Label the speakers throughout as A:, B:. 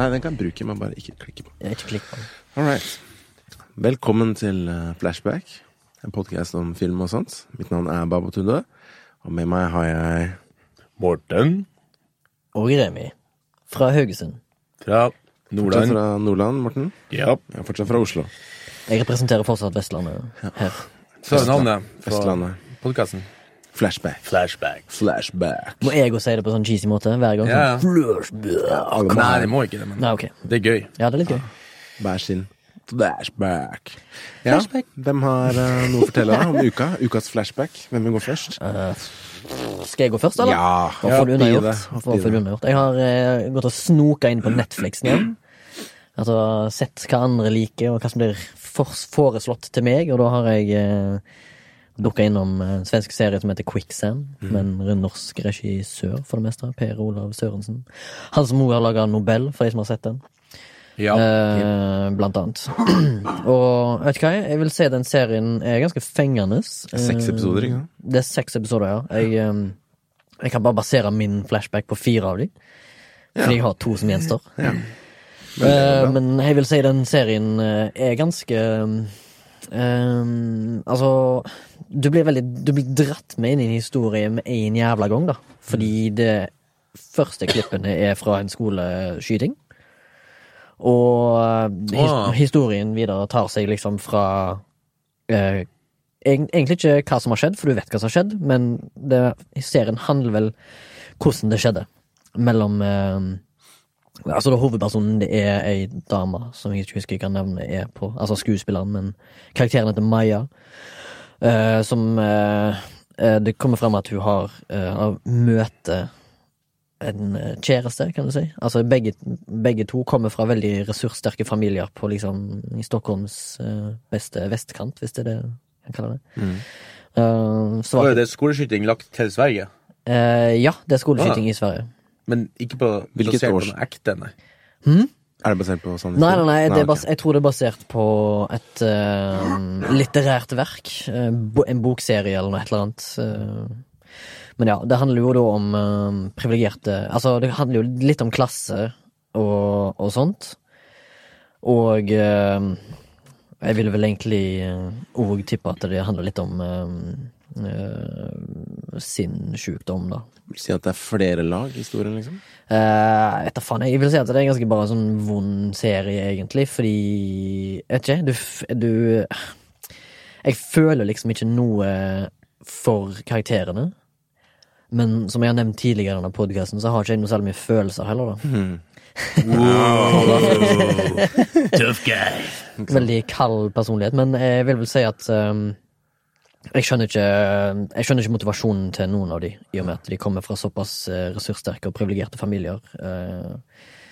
A: Nei, den kan jeg bruke, men bare ikke klikke på.
B: Jeg har ikke klikket på den.
A: All right. Velkommen til eh, Flashback, en podkast om film og sånt. Mitt navn er Babo Tunde, og med meg har jeg
C: Morten
B: Og Remi. Fra Haugesund.
C: fra
A: Fortsatt
C: Nordland.
A: fra Nordland, Morten.
C: Ja.
A: Jeg er fortsatt fra Oslo.
B: Jeg representerer fortsatt Vestlandet her.
C: Så er navnet fra
A: Vestlandet.
C: podkasten.
A: Flashback.
C: Flashback.
A: Flashback.
B: Må jeg òg si det på sånn cheesy måte hver gang?
C: Ja, ja.
B: Sånn, Flashback.
C: Nei, det må ikke det, men
B: Nei, ok.
C: det er gøy.
B: Ja, det er litt gøy.
A: Hver sin. Flashback. Ja, hvem har eh, noe å fortelle om uka? Ukas flashback. Hvem vil gå først?
B: Skal jeg gå først, eller?
A: Ja,
B: Bare få det
A: hopp i
B: unnagjort.
A: det,
B: Bare
A: hopp
B: få
A: i
B: det
A: det. Mm.
B: unnagjort. Jeg har eh, gått og snoka inn på Netflixen igjen. Altså sett hva andre liker, og hva som blir for- foreslått til meg, og da har jeg eh, dukka innom eh, en svensk serie som heter Quicksand,
A: Mm.
B: med en norsk regissør, for det meste. Per Olav Sørensen. Han som òg har laga Nobel, for de som har sett den.
C: Ja.
B: Eh, blant annet. og vet du hva, jeg vil se den serien er ganske fengende.
A: Seks
B: Eh,
A: episoder, ikke sant?
B: Det er seks episoder, ja. Jeg, eh, jeg kan bare basere min flashback på fire av dem. Fordi jeg har to som gjenstår. Eh, men jeg vil si den serien eh, er ganske eh, Altså Du blir veldig Du blir dratt med inn i en historie med en jævla gang, da. Fordi det første klippene er fra en skoleskyting. Og eh, his
C: Ah.
B: historien videre tar seg liksom fra eh, egen- Egentlig ikke hva som har skjedd, for du vet hva som har skjedd, men det, serien handler vel hvordan det skjedde. Mellom eh, Altså da Hovedpersonen det er ei dame som jeg ikke husker hva navnet er på. Altså skuespilleren, men karakteren heter Maya. eh, som eh, eh, Det kommer frem at hun har uh, møte en eh, kjæreste, kan du si. Altså begge, begge to kommer fra veldig ressurssterke familier på liksom i Stockholms eh, beste vestkant, hvis det er det jeg kaller det. Eh,
C: Så
B: svak-
C: er det skoleskyting lagt til Sverige,
B: Eh, ja, det er skoleskyting i Sverige.
C: men ikke på
A: Hvilket
C: basert
A: års-
C: på noe ekte, nei.
A: Er det basert på sann
B: Nei, nei, nei, det er
A: sånn ok.
B: bas jeg tror det er basert på et eh, litterært verk. eh, bo en bokserie eller noe et eller annet. eh. men ja, det handler jo da om eh, privilegerte Altså, det handler jo litt om klasse og, og sånt. Og eh, jeg ville vel egentlig òg tippe at det handler litt om eh, eh, sinnssykdom, da.
A: Vil si at det er flere lag i historien, liksom?
B: Eh, vet da faen, jeg vil si at det er ganske bare en sånn vond serie, egentlig, fordi Vet ikke, du, f- du Jeg føler liksom ikke noe for karakterene. Men som jeg har nevnt tidligere i denne podkasten, så har ikke jeg noe særlig mye følelser heller, da.
C: Mhm, Oh. Tough guy.
B: Veldig kald personlighet. Men jeg vil vel si at ehm, jeg skjønner, ikke, jeg skjønner ikke motivasjonen til noen av de, i og med at de kommer fra såpass eh, ressurssterke og privilegerte familier. Eh,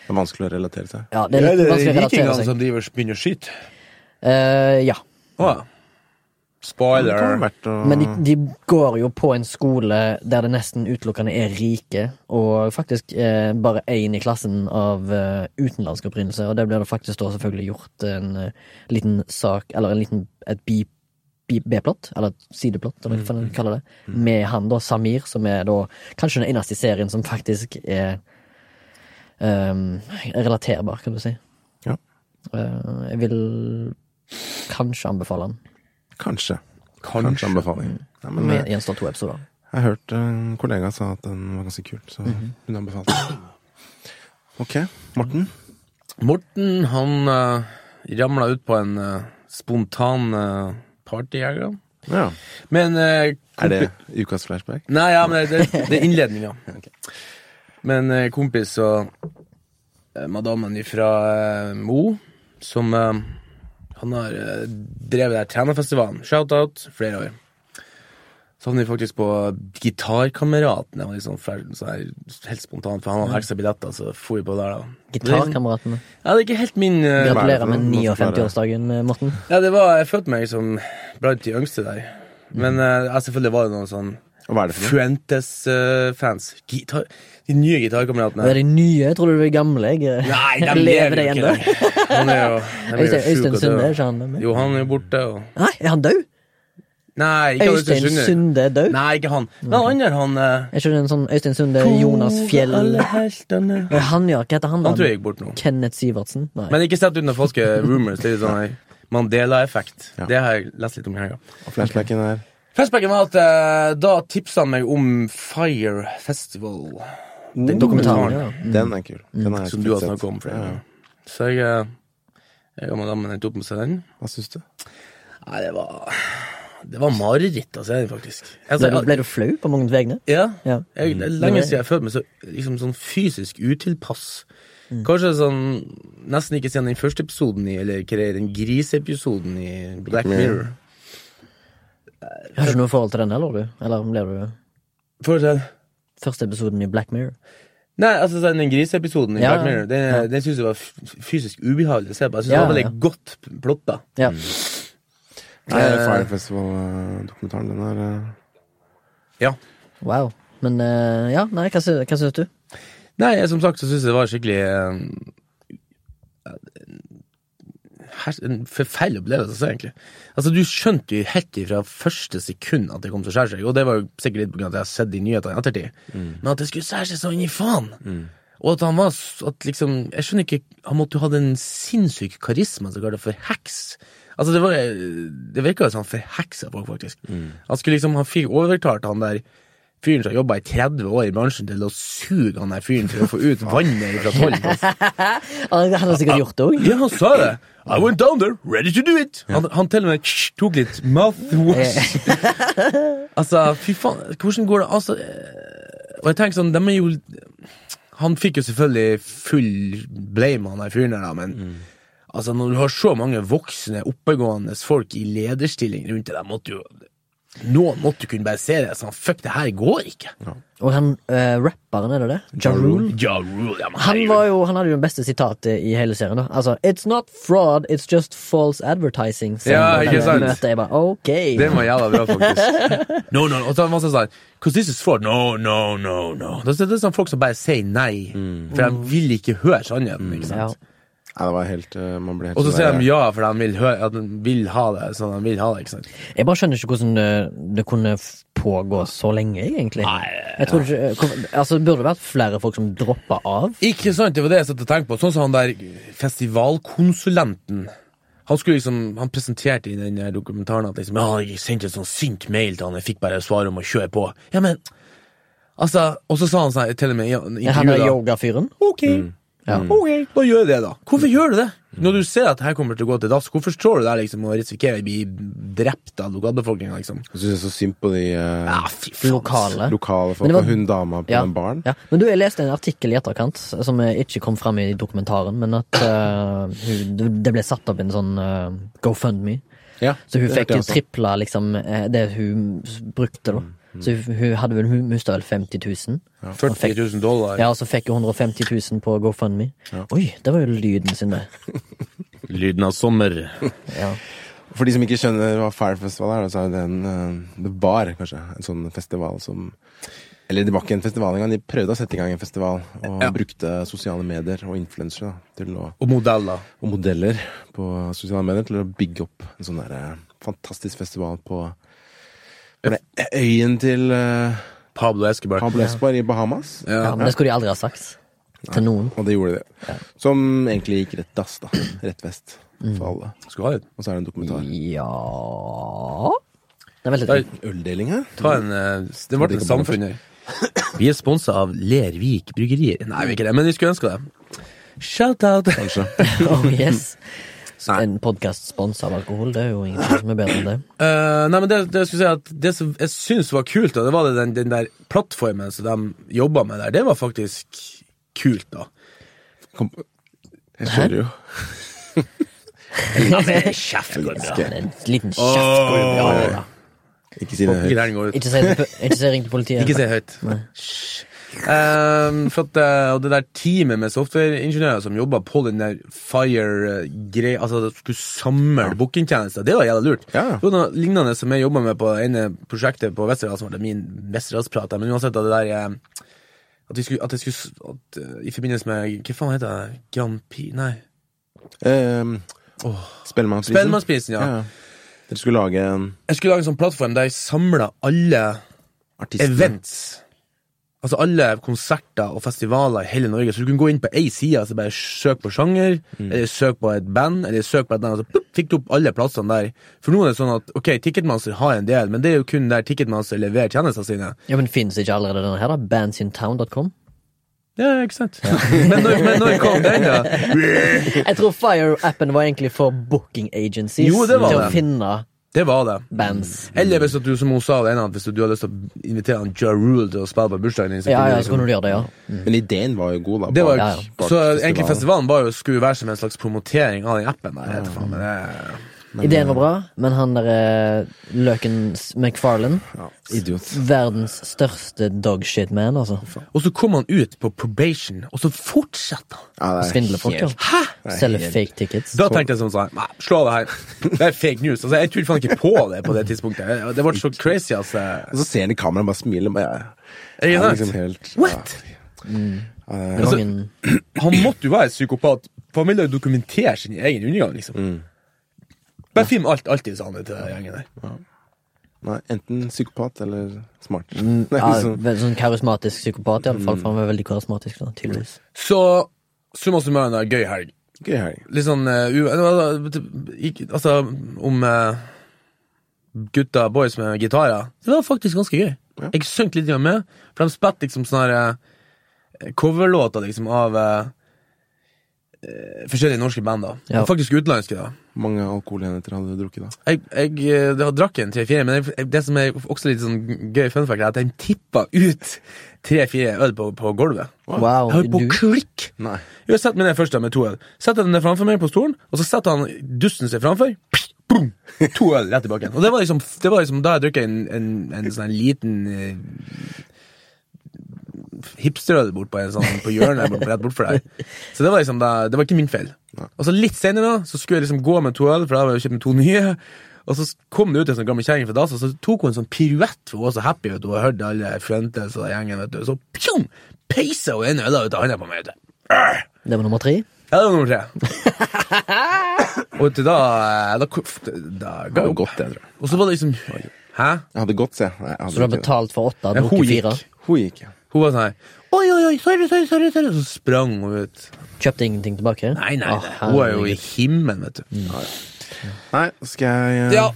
A: Det er vanskelig å relatere til.
B: ja, det
C: Det
B: er
C: er
B: litt
C: det
B: vanskelig å relatere
C: vikingene
B: seg.
C: som driver og begynner å skyte.
B: Eh, ja.
C: Å ja.
A: Det kan være
C: Spoiler.
A: verdt å
B: Men de, de går jo på en skole der det nesten utelukkende er rike, og faktisk eh, bare én i klassen av eh, utenlandsk opprinnelse, og det blir det faktisk da selvfølgelig gjort en eh, liten sak, eller en liten, et bi, bi, B-plott, eller et sideplott,
A: Mm,
B: eller hva man kaller det, med han da, Samir, som er da kanskje den eneste i serien som faktisk er ehm, relaterbar, kan du si.
A: Ja.
B: Eh, jeg vil kanskje anbefale han.
A: Kanskje. Kanskje
C: Kanskje.
A: anbefaling. Nei, men eh,
B: Med
A: jeg,
B: gjenstår to episoder.
A: jeg hørte en kollega sa at den var ganske kul, så
B: Mhm.
A: hun anbefalte den. Ok, Morten.
C: Morten, han uh, ramla ut på en eh, spontan uh, partyjeger.
A: Ja.
C: Men eh,
A: Er det ukas flashback?
C: Nei, ja, men det, det er innledninga. Men eh, kompis og eh, madammen ifra eh, Mo, som eh, han har eh, drevet der trenerfestivalen, shout-out, flere år. Så havner vi faktisk på Gitarkameratene, og liksom, fla- sånn her, helt spontant, for han hadde ekstra billetter, så altså, for vi på der, da.
B: Gitarkameratene.
C: Ja, det er ikke helt min eh,
A: Hva er det
B: Gratulerer
A: for
B: med
A: noe? Må forklare.
B: 59-årsdagen, Morten.
C: Ja, det var, jeg følte meg som blant de yngste der. Men eh, ja, selvfølgelig var det noen sånn
A: Og hva er det for noe?
C: Fuentes-fans. de nye gitarkameratene.
B: Er de nye? Tror du de er gamle? Jeg,
C: Nei, de
B: lever de ennå?
C: det. Han er jo de er jo
B: Øystein-
C: sjuk
B: Øystein
C: og
B: Sunde, er
C: død.
B: ikke han med?
C: Jo, han er jo borte, og
B: Nei, er han død?
C: Nei, ikke han Øystein
B: Øystein
C: Sunde.
B: Sunde er død.
C: Nei, ikke han. Men han andre, han eh,
B: Er ikke det en sånn Øystein Sunde, Jonas Fjell
C: Alle heltene.
B: Nei, Han, ja. Hva heter han? da?
C: Han tror jeg gikk bort nå.
B: Kenneth Sivertsen? Nei.
C: Men ikke sett under falske rumors. Det er litt sånn her Mandela-effekt.
A: Ja.
C: Det har jeg lest litt om i helga.
A: Og flashbacken er
C: Flashbacken var at eh, da tipsa han meg om Fire Festival. Den
B: Dokumentaren.
C: dokumentaren
B: Ja.
A: Den er kul. Den har jeg
C: Mm. som
A: ikke
C: du har
A: sett.
C: snakket om flere
A: Ja, ja.
C: ganger. Så jeg, eh, jeg og madammen endte opp med å se den.
A: Hva syns du?
C: Nei, det var Det var mareritt, altså, er Mm. det faktisk.
B: Ble,
C: Altså,
B: du, ble du flau på Magnus vegne?
C: ja,
B: Ja.
C: jeg, det er lenge siden jeg har følt meg så liksom, sånn fysisk utilpass.
B: Mm.
C: Kanskje sånn Nesten ikke siden den første episoden i Eller hva det er, den griseepisoden i Black Mirror.
B: Har du ikke noe forhold til den, eller? du? Eller ble du
C: Fortell.
B: første episoden i Black Mirror?
C: Nei, altså sånn, den griseepisoden i
B: Ja,
C: Black Mirror, den,
B: ja.
C: den syns jeg var f- fysisk ubehagelig å se på. Jeg syns
B: Ja,
C: det var veldig
B: ja.
C: godt plotta.
B: Ja.
C: Eh.
A: Nei, Eh, Fire Festival-dokumentaren, den er eh,
C: Ja.
B: Wow. Men eh, ja, nei, hva, sy- hva syns du?
C: Nei, jeg, som sagt så syns jeg det var skikkelig eh, her- En forferdelig opplevelse, altså, egentlig. Altså, du skjønte jo helt fra første sekund at det kom til å skjære seg, og det var jo sikkert litt på grunn av at jeg har sett de nyhetene i ettertid, men at det skulle skjære seg så inn i faen! Og at han var s- at liksom, Jeg skjønner ikke Han måtte jo ha den sinnssyke karismaen som kaller det for heks. Altså, det, var, det virka jo som han forheksa folk, faktisk. Han skulle liksom, han fikk overtalt han der fyren som jobba i 30 år i bransjen, til å suge han der fyren for å få ut vannet fra tollen.
B: Han han har sikkert gjort det òg.
C: Ja, han sa det. I went down there, ready to do it. Han, han til og med tok litt mouthwash. altså, fy faen, hvordan går det? Altså, eh, og jeg tenker sånn, de er jo Han fikk jo selvfølgelig full blame, han der fyren der, da, men
B: Mm.
C: altså, når du har så mange voksne, oppegående folk i lederstilling rundt deg, de måtte jo noen måtte jo kunne bare se det sånn, fuck, det her går ikke.
B: Og han eh, rapperen, er det det? Ja Rule.
C: Ja, Rule, ja, men
B: Han,
C: herregud.
B: var jo, han hadde jo det beste sitatet i hele serien. da Altså, It's not fraud, it's just false advertising. som
C: Ja,
B: det
C: ikke sant?
B: Møtet, jeg bare, ok
C: Den var jævla bra, faktisk. No, no, og så var det sånn Cause this is fraud. No, no, no, no. Det er, det er sånn folk som bare sier nei, for de vil ikke høre sannheten. ikke
B: Mm. ja.
C: sant?
A: Nei, det var helt eh, Man ble helt
C: Og så
A: sånn
C: sier
A: der-
C: de ja, for de vil, høre, at de vil ha det sånn de vil ha det. ikke sant?
B: Jeg bare skjønner ikke hvordan eh, det kunne f- pågå så lenge, egentlig. Jeg tror ikke, eh, hvor- altså, Burde det vært flere folk som droppa av?
C: Ikke sant, det var det jeg satt og tenkte på. Sånn som han der festivalkonsulenten. Han skulle liksom, han presenterte i den der dokumentaren at liksom, ja, jeg sendte en sånn sint mail til han, jeg fikk bare svar om å kjøre på. Ja, men, altså, Og så sa han sånn, til og med i
B: Ja, Han er
C: intervjuet da,
B: yogafyren?
C: Ok, Mm. ok, da gjør jeg det da Hvorfor gjør du det? Når du ser at det her kommer til å gå til dass Hvorfor står du der liksom og risikerer å bli drept av lokalbefolkningen liksom?
A: Jeg synes det er så synd på de eh,
C: Ja, Ah, fy faen
B: Lokale.
A: lokale
B: Men
A: folk
B: det var-
A: og hun dama på
B: Ja,
A: den baren.
B: ja. Men du, jeg leste en artikkel i etterkant, som eh, ikke kom fram i dokumentaren, men at eh, hun, det- det ble satt opp en sånn eh, GoFundMe.
A: Ja,
B: Så
A: det sånn.
B: hun fikk
A: hørte jeg
B: jo
A: også.
B: tripla liksom, eh, det hun s- brukte, da. Så hun, hun hadde vel hun mista vel 50 000. Ja.
C: 40 000 dollar
B: og så fikk hun 150 000 på GoFundMe. Oi, det var jo lyden sin, det.
C: Lyden av sommer
B: Ja.
A: For de som ikke skjønner hva Fire Festival er, så er det en eh, det var kanskje en sånn festival som Eller det var ikke en festival engang, de prøvde å sette i gang en festival og
C: Ja.
A: brukte sosiale medier og influensere da, til å-
C: Og modeller
A: og modeller på sosiale medier til å bygge opp en sånn der eh, fantastisk festival på på den øyen til eh,
C: Pablo Escobar
A: Pablo Escobar i Bahamas.
B: Ja, men det skulle de aldri ha sagt. Til noen.
A: Og det gjorde de. Som egentlig gikk rett dass, da. Rett vest
C: Mm.
A: for alle.
C: Skal ha det
A: Og så er det en
C: Mm.
A: dokumentar.
B: Ja Nei, vent
C: Oi.
B: litt.
A: Øldeling her?
C: Ta en, eh, det ble et samfunn her Vi er sponset av Lervik Bryggerier Nei, vi er ikke det, men vi skulle ønske det Shout out
B: Oh, yes.
A: Nei.
B: En podkast sponsa av alkohol, det er jo ingenting som er bedre enn det.
C: Eh, nei, men det, det, skulle jeg si at det som jeg syns var kult, da, det var det den, den der plattformen som de jobba med der. Det var faktisk kult, da.
A: Kom. Jeg hører jo.
B: Ja, en liten kjeft. Ja, ja, ja.
A: Ikke si det høyt.
C: Greiene går ut.
B: Ikke si ikke si ring til politiet.
C: Ikke si det høyt. Hysj. Eh, for at, eh, og det der teamet med softwareingeniører som jobba på den der Fire-greia Altså at de skulle samle bookingtjenester, det var jævla lurt.
A: Ja, ja.
C: Det var noe lignende som jeg jobba med på det ene prosjektet på Vesterålen, som var det min Vesterålsprat, men uansett at det der eh, At vi skulle, at jeg skulle at, eh, I forbindelse med Hva faen heter det? Grand Prix Nei.
A: Um, Spellemannprisen.
C: Spellemannprisen, ja.
A: Ja, ja. Dere skulle lage en
C: Jeg skulle lage en sånn plattform der jeg samla alle
A: artist
C: events. Altså alle konserter og festivaler i hele Norge. Så du kunne gå inn på ei side og bare søke på sjanger,
B: Mm.
C: eller søke på et band, eller søke på et band, og så plupp, fikk du opp alle plassene der. For nå er det sånn at ok, Ticketmaster har en del, men det er jo kun der Ticketmaster leverer tjenestene sine.
B: Ja, men Finnes ikke allerede denne her, da? Bandsintown.com?
C: Ja, ikke sant? men, når, men når kom den, da?
B: Jeg tror Fire-appen var egentlig for booking agencies
C: Jo, det var Mm.
B: til å
C: det.
B: finne
C: Det var det.
B: bands.
C: Eller hvis at du, som hun sa, det ene, at hvis du har lyst til å invitere han Ja Rule til å spille på bursdagen din. så
B: Ja,
C: kunne
B: ja,
C: du
B: så
C: liksom-
B: kunne du gjøre det, ja.
A: Men ideen var jo god, da.
C: Det var,
B: Ja, ja.
A: bak
C: Så egentlig
A: festivalen.
C: festivalen var jo, skulle jo være som en slags promotering av den appen. Der, jeg vet faen, men eh, det,
B: Ideen var bra, men han derre Løken McFarlane
A: Idiot.
B: Verdens største dogshit-man, altså.
C: og så kom han ut på probation, og så fortsatte han!
A: Ja, det er
B: Svindler folk, ja.
A: helt-
B: Selger fake tickets.
C: Da tenkte jeg sånn sånn Nei, slå av det her. Det er fake news. Altså, jeg trodde faen ikke på det på det tidspunktet. Det ble så crazy, altså.
A: Og så ser han i kameraet og bare smiler. Bare, ja.
C: Er det
A: Han er
C: sant?
A: liksom helt
C: What?
A: Ja,
C: altså,
A: ja.
B: Kongen
C: Han måtte jo være psykopat, for han ville jo dokumentere sin egen undergang, liksom. Bare film alt, alltid, sa han til gjengen der.
A: Nei, enten psykopat eller smart.
C: Mm,
A: Nei,
B: ja,
A: liksom.
B: vel, Sånn karismatisk psykopat, i alle fall, for han var veldig karismatisk, da, tydeligvis.
C: Så summa summarum, det var en gøy helg.
A: Gøy helg.
C: Litt sånn eh, u- ikke- Altså, om eh, gutta boys med gitarer. Det var faktisk ganske gøy.
A: Ja.
C: Jeg sønk litt grann med, for de spilte liksom sånne her, eh, coverlåter liksom av eh, eh, forskjellige norske band. da
B: Ja.
C: Og Faktisk utenlandske. da
A: Mange alkoholenheter hadde du drukket da?
C: Jeg, jeg, eh, da drakk en tre-fire, men jeg, jeg- det som er også litt sånn gøy fun fact, er at de tippa ut tre-fire øl på, på gulvet.
B: Wow,
C: jeg holdt på
B: du-
C: å klikke!
A: Nei.
C: Jo, Jeg setter meg ned først da med to øl. Setter den ned framfor meg på stolen, og så setter han dusten seg framfor. Boom! To øl rett i bakken. Og det var liksom, det var liksom da jeg drukket en, en, en sånn liten eh, hipsterøl bort på, en sånn, på hjørnet bort, rett bortfor der. Så det var liksom da, det var ikke min feil. Og så litt senere da, så skulle jeg liksom gå med to øl, for da var jeg kjøpt med to nye. Og så kom det ut en sånn gammel kjerring fra dass, og så tok hun en sånn piruett, for hun var så happy, vet du, og hørte alle fuentes og gjengen, vet du. Så pjong! Peisa hun en øl ut av handa på meg, vet du.
B: Det var nummer tre.
C: Ja, det var nummer tre. og til da eh, Da, da
A: Det
C: ga
A: var
C: jeg opp.
A: godt, det, tror jeg.
C: Og så var det liksom Hæ?
A: Jeg hadde godt, se. Nei, jeg hadde
B: Så du har
A: ikke det.
B: betalt for åtte,
C: Ja,
B: og
C: hun
B: drukket
C: gikk.
B: fire.
A: Hun gikk, ja.
C: Hun var sånn her Oi, oi, oi, sorry, sorry, sorry, sorry. Så sprang hun ut.
B: Kjøpte ingenting tilbake?
C: Nei, nei,
B: Å,
C: nei. hun er jo i
B: herregud.
C: himmelen, vet du.
A: Nei, skal jeg eh,
C: Ja.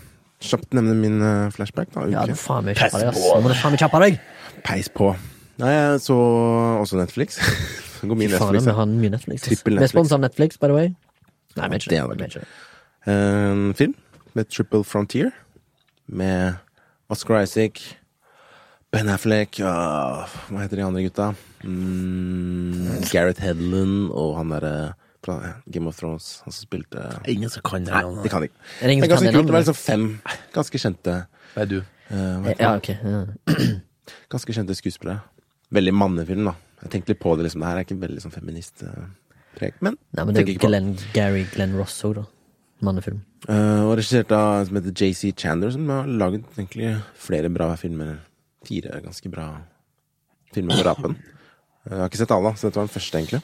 A: kjapt nevne min eh, flashback, da?
B: Ja,
A: Uke.
B: du faen meg kjappa deg, ass. Nå må du faen meg kjappe deg!
A: Peis på. Nei, jeg så også Netflix. Så går min
B: Fy faen,
A: Netflix,
B: vi
A: ja.
B: har mye Netflix. ass.
A: Trippel
B: Vi er
A: Netflix.
B: sponset av Netflix, by the way. Nei, vi er ikke
A: Det
B: det.
A: hadde
B: Vi er ikke det.
A: En film med Triple Frontier. Med Oscar Isaac, Ben Affleck og Hva heter de andre gutta? Mm, Gareth Hedlund og han derre fra eh, Game of Thrones, han som spilte
C: Ingen som kan det.
A: Nei, det kan de ikke.
B: Er det
A: Det
B: ingen
A: er
B: som kan
A: ganske
B: det
A: kult. Det var
B: navnet?
A: liksom fem ganske kjente
C: Nei, du.
A: eh, hva heter
B: Ja, ok. Ja.
A: det? Ganske kjente skuespillere. Veldig mannefilm, da. Jeg tenkte litt på det, liksom. Det her er ikke veldig sånn feministpreg, men
B: Nei, men det er
A: tenker
B: jo
A: ikke på det.
B: Glenn Gary Glenn Rosso, da. Mannefilm.
A: Eh, og regissert av en som heter JC Chander, som har laget egentlig flere bra filmer. Fire ganske bra filmer på rapen. Eh, jeg har ikke sett alle, så dette var den første, egentlig.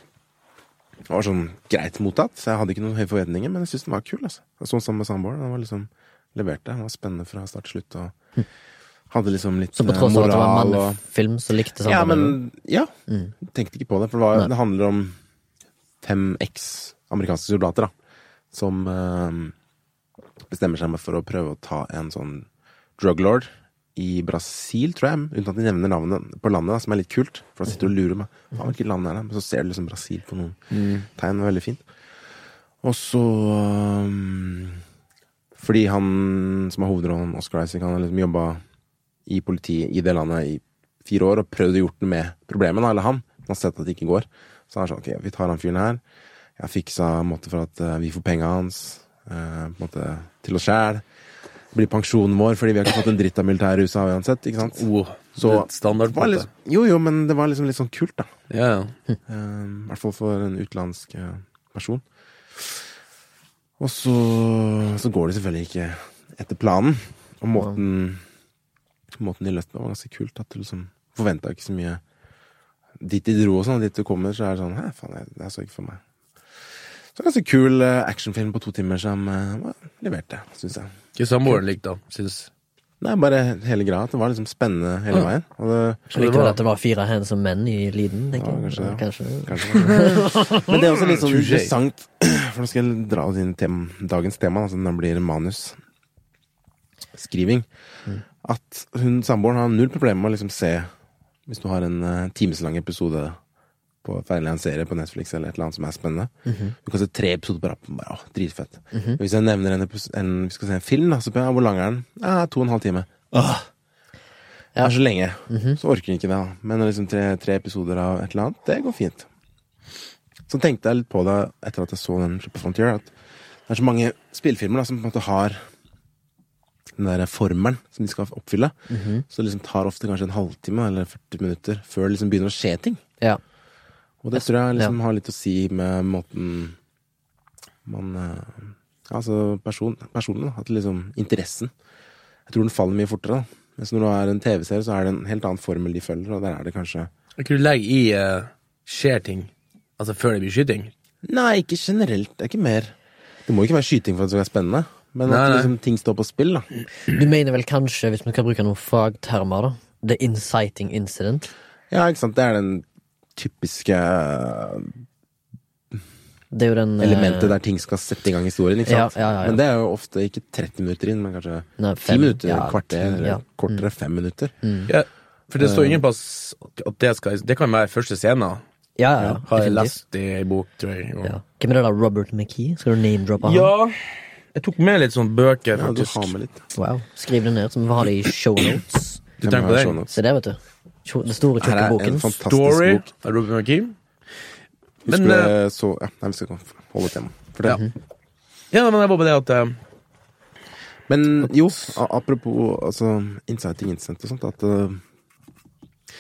A: Det var sånn greit mottatt, så jeg hadde ikke noen høye forventninger, men jeg syntes den var kul. altså. Jeg så den sammen med samboeren, og den var liksom leverte. Den var spennende fra start til slutt, og hadde liksom litt
B: Hm. Så på
A: eh,
B: tross av at det var en
A: moral og
B: mannefilm, så likte
A: ja,
B: samboeren det.
A: men Ja. Tenkte ikke på det. For det, var, det handler om fem eks amerikanske soldater da, som eh, bestemmer seg for å prøve å ta en sånn drug lord i Brasil, tror jeg, uten at de nevner navnet på landet, da, som er litt kult. For da sitter du og lurer meg. Faen, hvilket land er det? Men så ser du liksom Brasil på noen tegn. Det er veldig fint. Og så eh, fordi han som har hovedrollen, Oscar Isaac, han har liksom jobba i politiet i det landet i fire år og prøvd å gjort noe med problemet, da, eller han. Han har sett at det ikke går. Så han er sånn, ok, vi tar han fyren her. Jeg fiksa en måte for at eh, vi får penga hans eh, på en måte til oss sjæl. Det blir pensjonen vår, fordi vi har ikke fått en dritt av militæret i USA uansett. ikke sant?
C: Oh,
A: Så-
C: det er et standard,
A: Det
C: på
A: var
C: en måte.
A: liksom, jo, jo, men det var liksom litt sånn kult, da.
C: Ja, ja.
A: Eh, I hvert fall for en utenlandsk eh, person. Og så, så går det selvfølgelig ikke etter planen. Og måten, måten de løste det på, var ganske kult. At du liksom forventa ikke så mye. Dit de dro og sånn, og dit du kommer, så er det sånn Hæ, faen, jeg- det her så ikke for meg. Så det er en ganske kul eh, actionfilm på to timer som eh, var leverte, syns jeg.
C: Ikke samboeren likte han, syns
A: Nei, bare hele greia. at Det var liksom spennende hele veien. Og det,
B: Jeg likte vel at det var fire handsome menn i Liden,
A: ja,
B: tenker
A: kanskje, det,
B: jeg.
A: ja.
B: Kanskje.
A: Kanskje det var det. Men det er også litt sånn
C: Touché.
A: interessant, for nå skal jeg dra oss inn i tem- dagens tema, altså når det blir manusskriving, at hun samboeren har null problemer med å liksom se Hvis du har en eh, timeslang episode på ferdig en serie på Netflix eller et eller annet som er spennende Du kan se tre episoder på rappen, bare, åh, dritfett. Hvis jeg nevner en, epis- en, vi skal se en film, da, så spør jeg hvor lang er den? Ja, to og en halv time. Åh! Det er så lenge. Så orker hun ikke det. da. Men liksom tre, tre episoder av et eller annet, det går fint. Så tenkte jeg litt på det etter at jeg så den Triple Frontier, at det er så mange spillfilmer da, som på en måte har den der formelen som de skal oppfylle. Så det liksom tar ofte kanskje en halvtime eller 40 minutter før det liksom begynner å skje ting.
B: Ja.
A: Og det tror jeg liksom har litt å si med måten man eh, Altså person, personen, da. At liksom interessen. Jeg tror den faller mye fortere. da. Mens når du har en TV-serie, så er det en helt annen formel de følger, og der er det kanskje
C: Jeg kunne legge i eh, skjer ting, altså før det blir skyting.
A: Nei, ikke generelt. Det er ikke mer Det må ikke være skyting for at det skal være spennende. Men
C: Nei,
A: at
C: nei.
A: liksom, ting står på spill, da.
B: Du mener vel kanskje, hvis vi skal bruke noen fagtermer, da The inciting incident.
A: Ja, ikke sant. Det er den typiske eh,
B: Det er jo den eh,
A: elementet der ting skal sette i gang historien. ikke
B: Ja,
A: sant?
B: ja, ja, ja.
A: Men det er jo ofte ikke 30 minutter inn, men kanskje
B: Nei,
A: 10
B: fem.
A: minutter,
B: Ja,
A: kvarter,
B: ti,
A: eller
B: ja. Mm.
A: kortere, 5 minutter.
C: Ja, for det står ingen plass at det skal Det kan være første scenen.
B: Ja, ja, ja.
C: Har jeg
B: definitivt.
C: lest i en bok, tror jeg. og-
B: Ja. Hvem er det da? Robert McKee? Skal du name-droppe han?
C: Ja, jeg tok med litt sånn bøker,
A: Ja, du
C: faktisk.
A: har med litt.
B: Wow. Skriv det ned, så vi har det i show notes.
C: Du
A: Jeg
C: tenker på
A: må ha
C: den?
A: show notes.
B: Se der, vet du. Tjo- Den store,
A: sånn Her
B: tjukke
A: er en
B: boken.
A: fantastisk
C: Story
A: bok.
C: av Robert McKean.
A: Husker
C: Men,
B: eh,
A: du det så Ja, nei, vi skal holde temaet. For det.
C: Ja.
B: Mhm.
C: Mhm. Ja, men det var bare det at eh,
A: Men jo, a- apropos altså, inciting incident og sånt, at eh,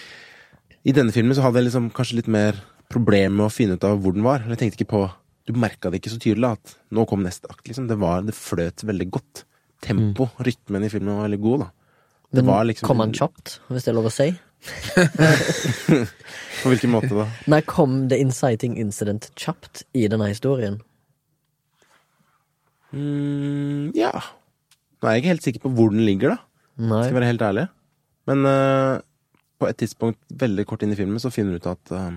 A: I denne filmen så hadde jeg liksom kanskje litt mer problemer med å finne ut av hvor den var. Jeg tenkte ikke på Du merka det ikke så tydelig at nå kom neste akt, liksom. Det, var, det fløt veldig godt. Tempo, rytmen i filmen var veldig god, da. Det var
B: Men
A: liksom
B: kom han kjapt, hvis det er lov å si?
A: På hvilken måte da?
B: Nei, kom The Inciting Incident kjapt i denne historien?
A: Mm, ja Nå er jeg ikke helt sikker på hvor den ligger, da.
B: Nei.
A: Skal jeg være helt ærlig. Men eh, på et tidspunkt veldig kort inn i filmen så finner du ut at eh,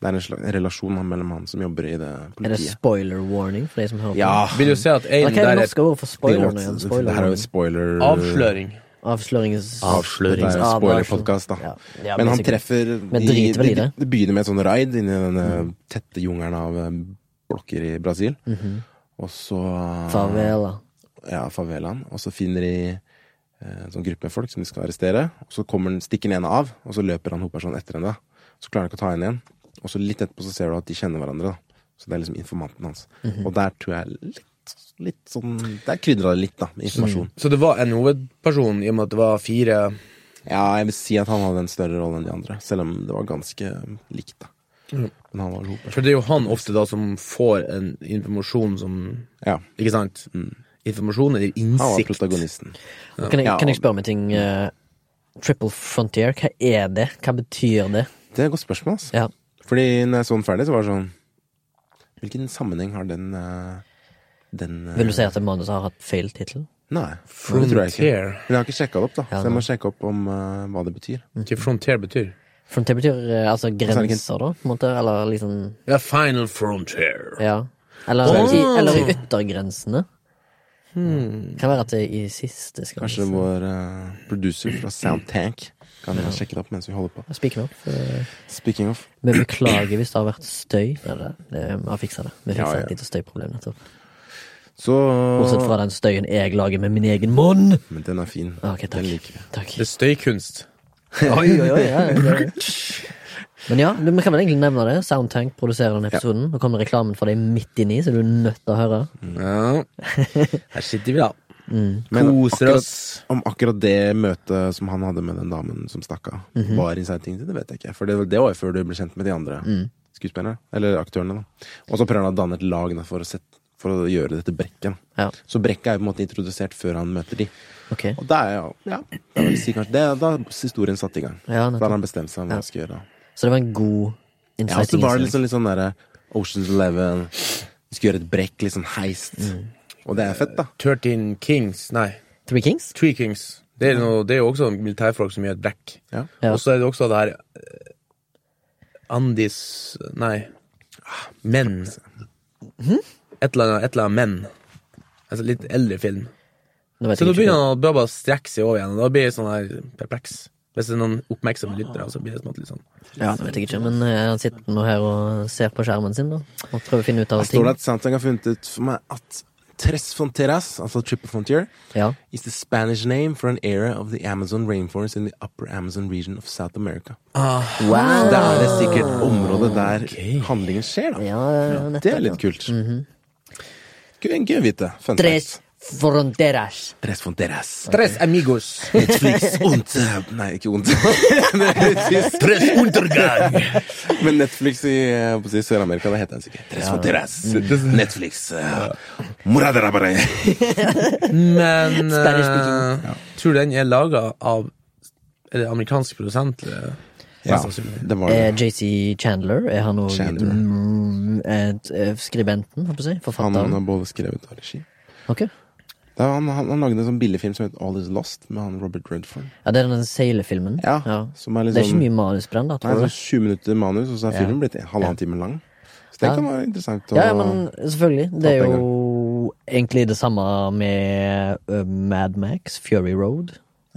A: det er en slags relasjon han- mellom han som jobber i det
B: Er det
A: politiet.
B: spoiler warning for de som hører på?
A: Ja!
C: Vil du se at en
B: Eller hva er
C: der
B: det
C: er
B: norske ordet for
A: Det,
B: spoiler nå igjen? Spoiler
A: her er jo
B: warning.
A: spoiler
C: avsløring.
B: Avslørings...
A: Avslørings-
B: Avslørings-
A: spoilerpodcast, da.
B: sånn- Ja. Ja,
A: Men han
B: sikkert.
A: treffer
B: Men driter vel i
A: de-
B: det.
A: Det begynner med et sånn raid inni den eh, tette jungelen av eh, blokker i Brasil.
B: Mhm.
A: Og så
B: Favela.
A: ja, favelaen, og så finner de eh, en sånn gruppe med folk som de skal arrestere. Og så kommer den, stikker den ene av, og så løper han hovedpersonen etter henne. da. Så klarer han ikke å ta henne igjen. Og så litt etterpå så ser du at de kjenner hverandre. da. Så det er liksom informanten hans. Og der tror jeg litt, litt sånn Der krydra det litt, da, med informasjon.
C: Så det var en hovedperson, i og med at det var fire
A: Ja, jeg vil si at han hadde en større rolle enn de andre, selv om det var ganske eh, likt, da. Men han var vel hovedpersonen.
C: For det er jo han ofte da som får en informasjon som
A: Ja.
C: Ikke sant? Informasjon
A: Mm.
C: eller
A: Han var
C: innsikt.
A: protagonisten.
B: Kan jeg,
A: Ja,
B: kan jeg
A: og-
B: spørre om en ting? eh, Triple Frontier, hva er det? Hva betyr det?
A: Det er et godt spørsmål, altså.
B: Ja.
A: Fordi når jeg så den ferdig, så var det sånn Hvilken sammenheng har den eh, den eh,
B: Vil du si at manuset har hatt feil tittel?
A: Nei,
C: Frontier.
A: det tror jeg ikke. Men jeg har ikke sjekka det opp, da.
B: Ja,
A: så jeg må sjekke opp om eh, hva det betyr.
C: Ikke frontier betyr.
B: Frontier betyr eh, altså
A: er det ikke-
B: grenser, da, på en måte? Eller liksom
C: Ja, final frontier.
B: Ja. Eller,
C: Åh!
B: i, eller i yttergrensene. Kan være at det er i siste skal
A: Hmm. Kanskje vår eh, producer fra Soundtank kan sjekke det opp mens vi holder på.
B: Speaking of. eh,
A: Speaking of.
B: Vi beklager hvis det har vært støy. Nei, det, det, vi har fiksa det. Vi fiksa
A: Ja, ja.
B: et lite støyproblem nettopp.
A: Så
B: Bortsett fra den støyen jeg lager med min egen munn. Ah,
A: Men den er fin.
B: Ok, takk.
A: Den liker vi.
B: takk.
C: Det er støykunst.
B: Oi, oi, oi, ja, ja, ja. Men ja, vi kan vel egentlig nevne det. Soundtank produserer denne episoden. Nå kommer reklamen for deg midt inni, så du er nødt til å høre.
C: Ja. Her sitter vi, da.
B: Mm.
A: Men
C: Koser
A: akkurat,
C: oss.
A: om akkurat det møtet som han hadde med den damen som stakk av,
B: Mhm.
A: var inciting til det, vet jeg ikke. For det, det var jo før du ble kjent med de andre
B: Mm.
A: skuespillerne. Eller aktørene, da. Og så prøver han å danne et lag da, for, å sette, for å gjøre dette brekket. da.
B: Ja.
A: Så brekket er jo på en måte introdusert før han møter de.
B: Ok.
A: Og da er jo ja, jeg vil si kanskje, det er da historien satt i gang.
B: Ja,
A: da
B: nettopp.
A: har han bestemt seg om hva han skal gjøre.
B: Så det var en god
A: Ja, og
B: insight. Mm.
A: så var det liksom litt sånn derre Oceans Eleven. Vi skulle gjøre et brekk, litt sånn heist. Og det er fett, da.
C: 13 Kings, nei,
B: Three Kings?
C: Three Kings. Det er, noe, det er jo også sånn militærfolk som gjør et brekk.
A: Ja.
B: Ja.
C: Og så er det også det her eh, Andis Nei. Ah, Menn.
B: Hm?
C: Et eller annet, et eller annet menn. Altså litt eldre film.
B: Nå vet
C: Så
B: jeg
C: nå
B: ikke.
C: begynner han å bare- bare strekke seg over igjen, og da blir jeg sånn her perpleks. Hvis det er noen oppmerksomme lyttere, så blir det sånn at litt sånn
B: Ja, det vet jeg ikke, men eh, han sitter nå her og ser på skjermen sin, da. Og prøver å finne ut av
A: Her står
B: ting.
A: det at Samsung har funnet ut for meg at Tres Fronteras, altså Triple Frontier,
B: Ja.
A: is the Spanish name for an area of the Amazon rainforest in the upper Amazon region of South America.
B: Ah,
A: Så
B: Wow!
A: det er det sikkert området der handlingen skjer, da.
B: Ja, nettopp.
A: Det er litt kult. Gøy gøy å vite. Fun
B: Tres
A: fact.
B: fronteras.
A: Tres Fronteras.
C: Tres amigos.
A: Netflix und eh, Nei, ikke und. Tres Untergang! Men Netflix i eh, på å si Sør-Amerika, det heter den sikkert. Tres Fronteras.
B: Mm.
A: Netflix. eh, Moradera bare.
C: Men
B: Spanish speaking.
C: eh, tror du den er laga av Er det amerikansk produsent? eller?
A: Ja,
C: sannsynlig.
A: det var
B: Eh,
A: det.
B: JC Chandler, er han òg
A: Chandler.
B: mm, et, eh, skribenten, holdt på å si?
A: Han
B: Forfatteren?
A: har både skrevet og regi.
B: Ok.
A: Det var han, han, han lagde en sånn billigfilm som het All Is Lost, med han Robert Redford.
B: Ja, det er den seilefilmen.
A: Ja, som er litt
B: Det er ikke
A: sånn-
B: mye manus på den, da.
A: Nei,
B: Tror jeg.
A: sånn 20 minutter manus, og så er
B: Ja.
A: filmen blitt en halvannen time lang. Så det
B: Ja.
A: kan være interessant å
B: Ja, ja, men selvfølgelig. Det
A: Ta
B: er
A: penger.
B: jo egentlig det samme med eh, Mad Max, Fury Road.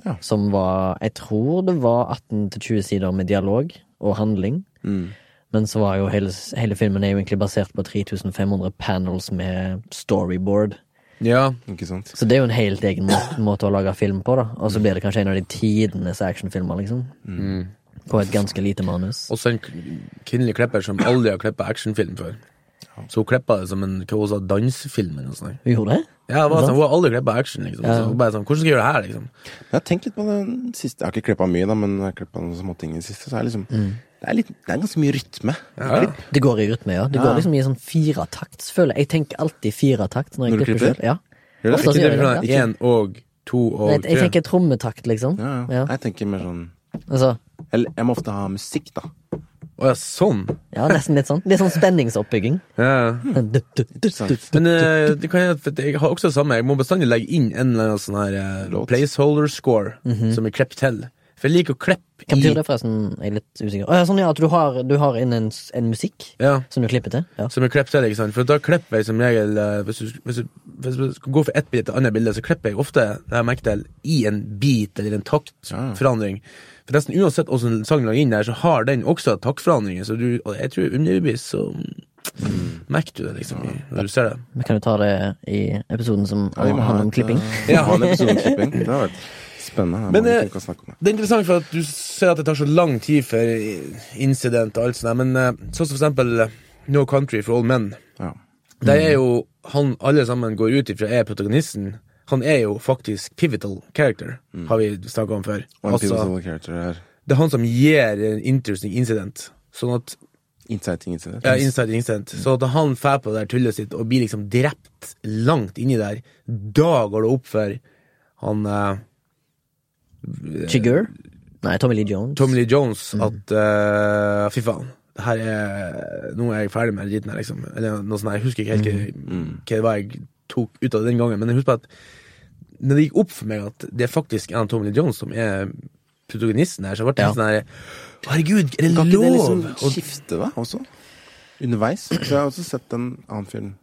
A: Ja.
B: Som var Jeg tror det var 18-20 sider med dialog og handling. Men så var jo hele, hele filmen er jo egentlig basert på 3500 panels med storyboard.
C: Ja.
A: Ikke sant?
B: Så det er jo en helt egen måte, måte å lage film på, da. Og så blir det kanskje en av de tidenes actionfilmer, liksom. På et ganske lite manus.
C: Også en k- kvinnelig klipper som aldri har klippa actionfilm før. Så hun klippa det som en hva hun sa, dansefilm eller noe sånt.
B: Hun gjorde det?
C: Ja, det var sånn, hun har aldri klippa action, liksom. Så hun bare sånn, hvordan skal jeg gjøre det her, liksom?
A: Jeg har tenkt litt på den siste Jeg har ikke klippa mye, da, men jeg har klippa noen småting i det siste. Så er det liksom, det, er litt, det er ganske mye rytme.
C: Ja.
B: Det går i rytme, Mm. ja. Det går liksom i sånn firetakts, føler jeg. Jeg tenker alltid firetakt når jeg
A: Når du
B: klipper
A: klipper?
B: selv. Ja.
A: Gjør det?
B: Ofte så
C: Ikke det
B: gjør jeg
C: sånn
B: det. ja.
C: én og to
B: Nei,
C: og
B: Jeg, jeg
C: tre?
B: tenker trommetakt, liksom.
A: Ja, ja.
B: Ja.
A: Jeg tenker mer sånn
B: Altså,
A: Eller jeg må ofte ha musikk, da.
C: Å ja, sånn?
B: ja, nesten litt sånn. Litt sånn spenningsoppbygging. Sånn
C: Ja.
B: Du, du, du, du, du.
C: Men eh, det kan jeg, for jeg har også det samme. Jeg må bestandig legge inn en eller annen sånn her eh,
A: Låt.
C: placeholder score som jeg klipper til. For jeg liker å klippe
B: Hva betyr
C: i
B: det, forresten? Jeg er litt usikker. Å, ja, sånn, ja, at du har, du har inn en, s- en musikk
C: Ja.
B: som du klipper til? Ja.
C: Som jeg klipper til, ikke sant? For da klipper jeg som regel eh, Hvis du, hvis du, hvis du skal gå fra ett bilde til et annet bilde, så klipper jeg ofte det jeg merker til, i en beat eller en taktforandring. For nesten uansett hvordan sangen lager inn der, så har den også taktforandringer. Så du, og jeg tror underbevisst så merker du det, liksom, i- når du ser det.
B: Vi kan jo ta det i episoden som
A: Ja, vi må ha
B: handler om
A: et,
B: klipping.
A: eh, vi må ha en episode om klipping. Det har vært spennende. Det er
C: Men,
A: mange
C: eh,
A: ting vi kan snakke om.
C: Det er interessant for at du ser at det tar så lang tid for i- incident og alt sånt, der, men eh, sånn som for eksempel eh, No Country for All Men.
A: Ja.
C: Der
A: Mm.
C: er jo han alle sammen går ut ifra er protagonisten. Han er jo faktisk pivotal character, har vi snakka om før.
A: Mm. Og en
C: Altså,
A: pivotal character her.
C: det er han som gir en interesting incident. Sånn at
A: Inciting incident.
C: ja, inside incident.
A: Mm.
C: Så at han fær på det der tullet sitt og blir liksom drept langt inni der, da går det opp for han eh,
A: eh,
B: Chigur? Nei, Tommy Lee Jones.
C: Tommy Lee
A: Mm.
C: Jones at eh, Fy faen, det her er Nå er jeg ferdig med den dritten her, liksom. Eller noe sånt, her. jeg husker ikke
A: Mm.
C: helt hva, hva det var jeg tok ut av det den gangen, men jeg husker bare at når det gikk opp for meg at det er faktisk en av Tommy Lee Jones som er protagonisten her, så ble det
B: Ja.
C: litt sånn her Herregud, er det
A: Kan ikke
C: lov?
A: det liksom
C: Og-
A: skifte, da, også? Underveis. Så jeg har også sett en annen film.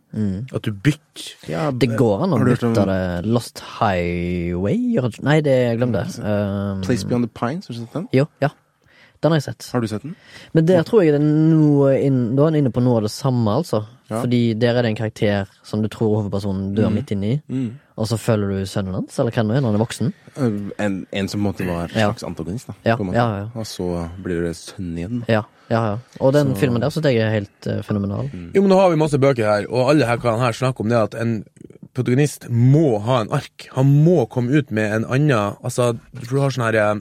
C: At du bytter.
A: Ja,
B: Det går an å
A: Har du hørt om-
B: bytte det. Lost Highway? gjør det ikke- Nei, det glem det. Um,
A: Place Beyond the Pines, har du sett den?
B: jo, ja. Den har jeg sett.
A: Har du sett den?
B: Men der tror jeg det er noe inn, Da er han inne på noe av det samme, altså.
A: Ja.
B: Fordi der er det en karakter som du tror hovedpersonen
C: Mm.
B: dør midt inni, og så følger du sønnen hans, eller hvem det er, når han er voksen.
A: Uh, En, en som på en måte var en slags antagonist, da.
B: Ja,
A: på en måte.
B: ja, ja.
A: Og så blir det sønnen igjen.
B: Ja, ja, ja. Og den filmen der syns jeg er helt eh, fenomenal.
C: Jo, men nå har vi masse bøker her, og alle her kan her snakke om det at en protagonist må ha en ark. Han må komme ut med en annen Altså, for du har sånn her eh,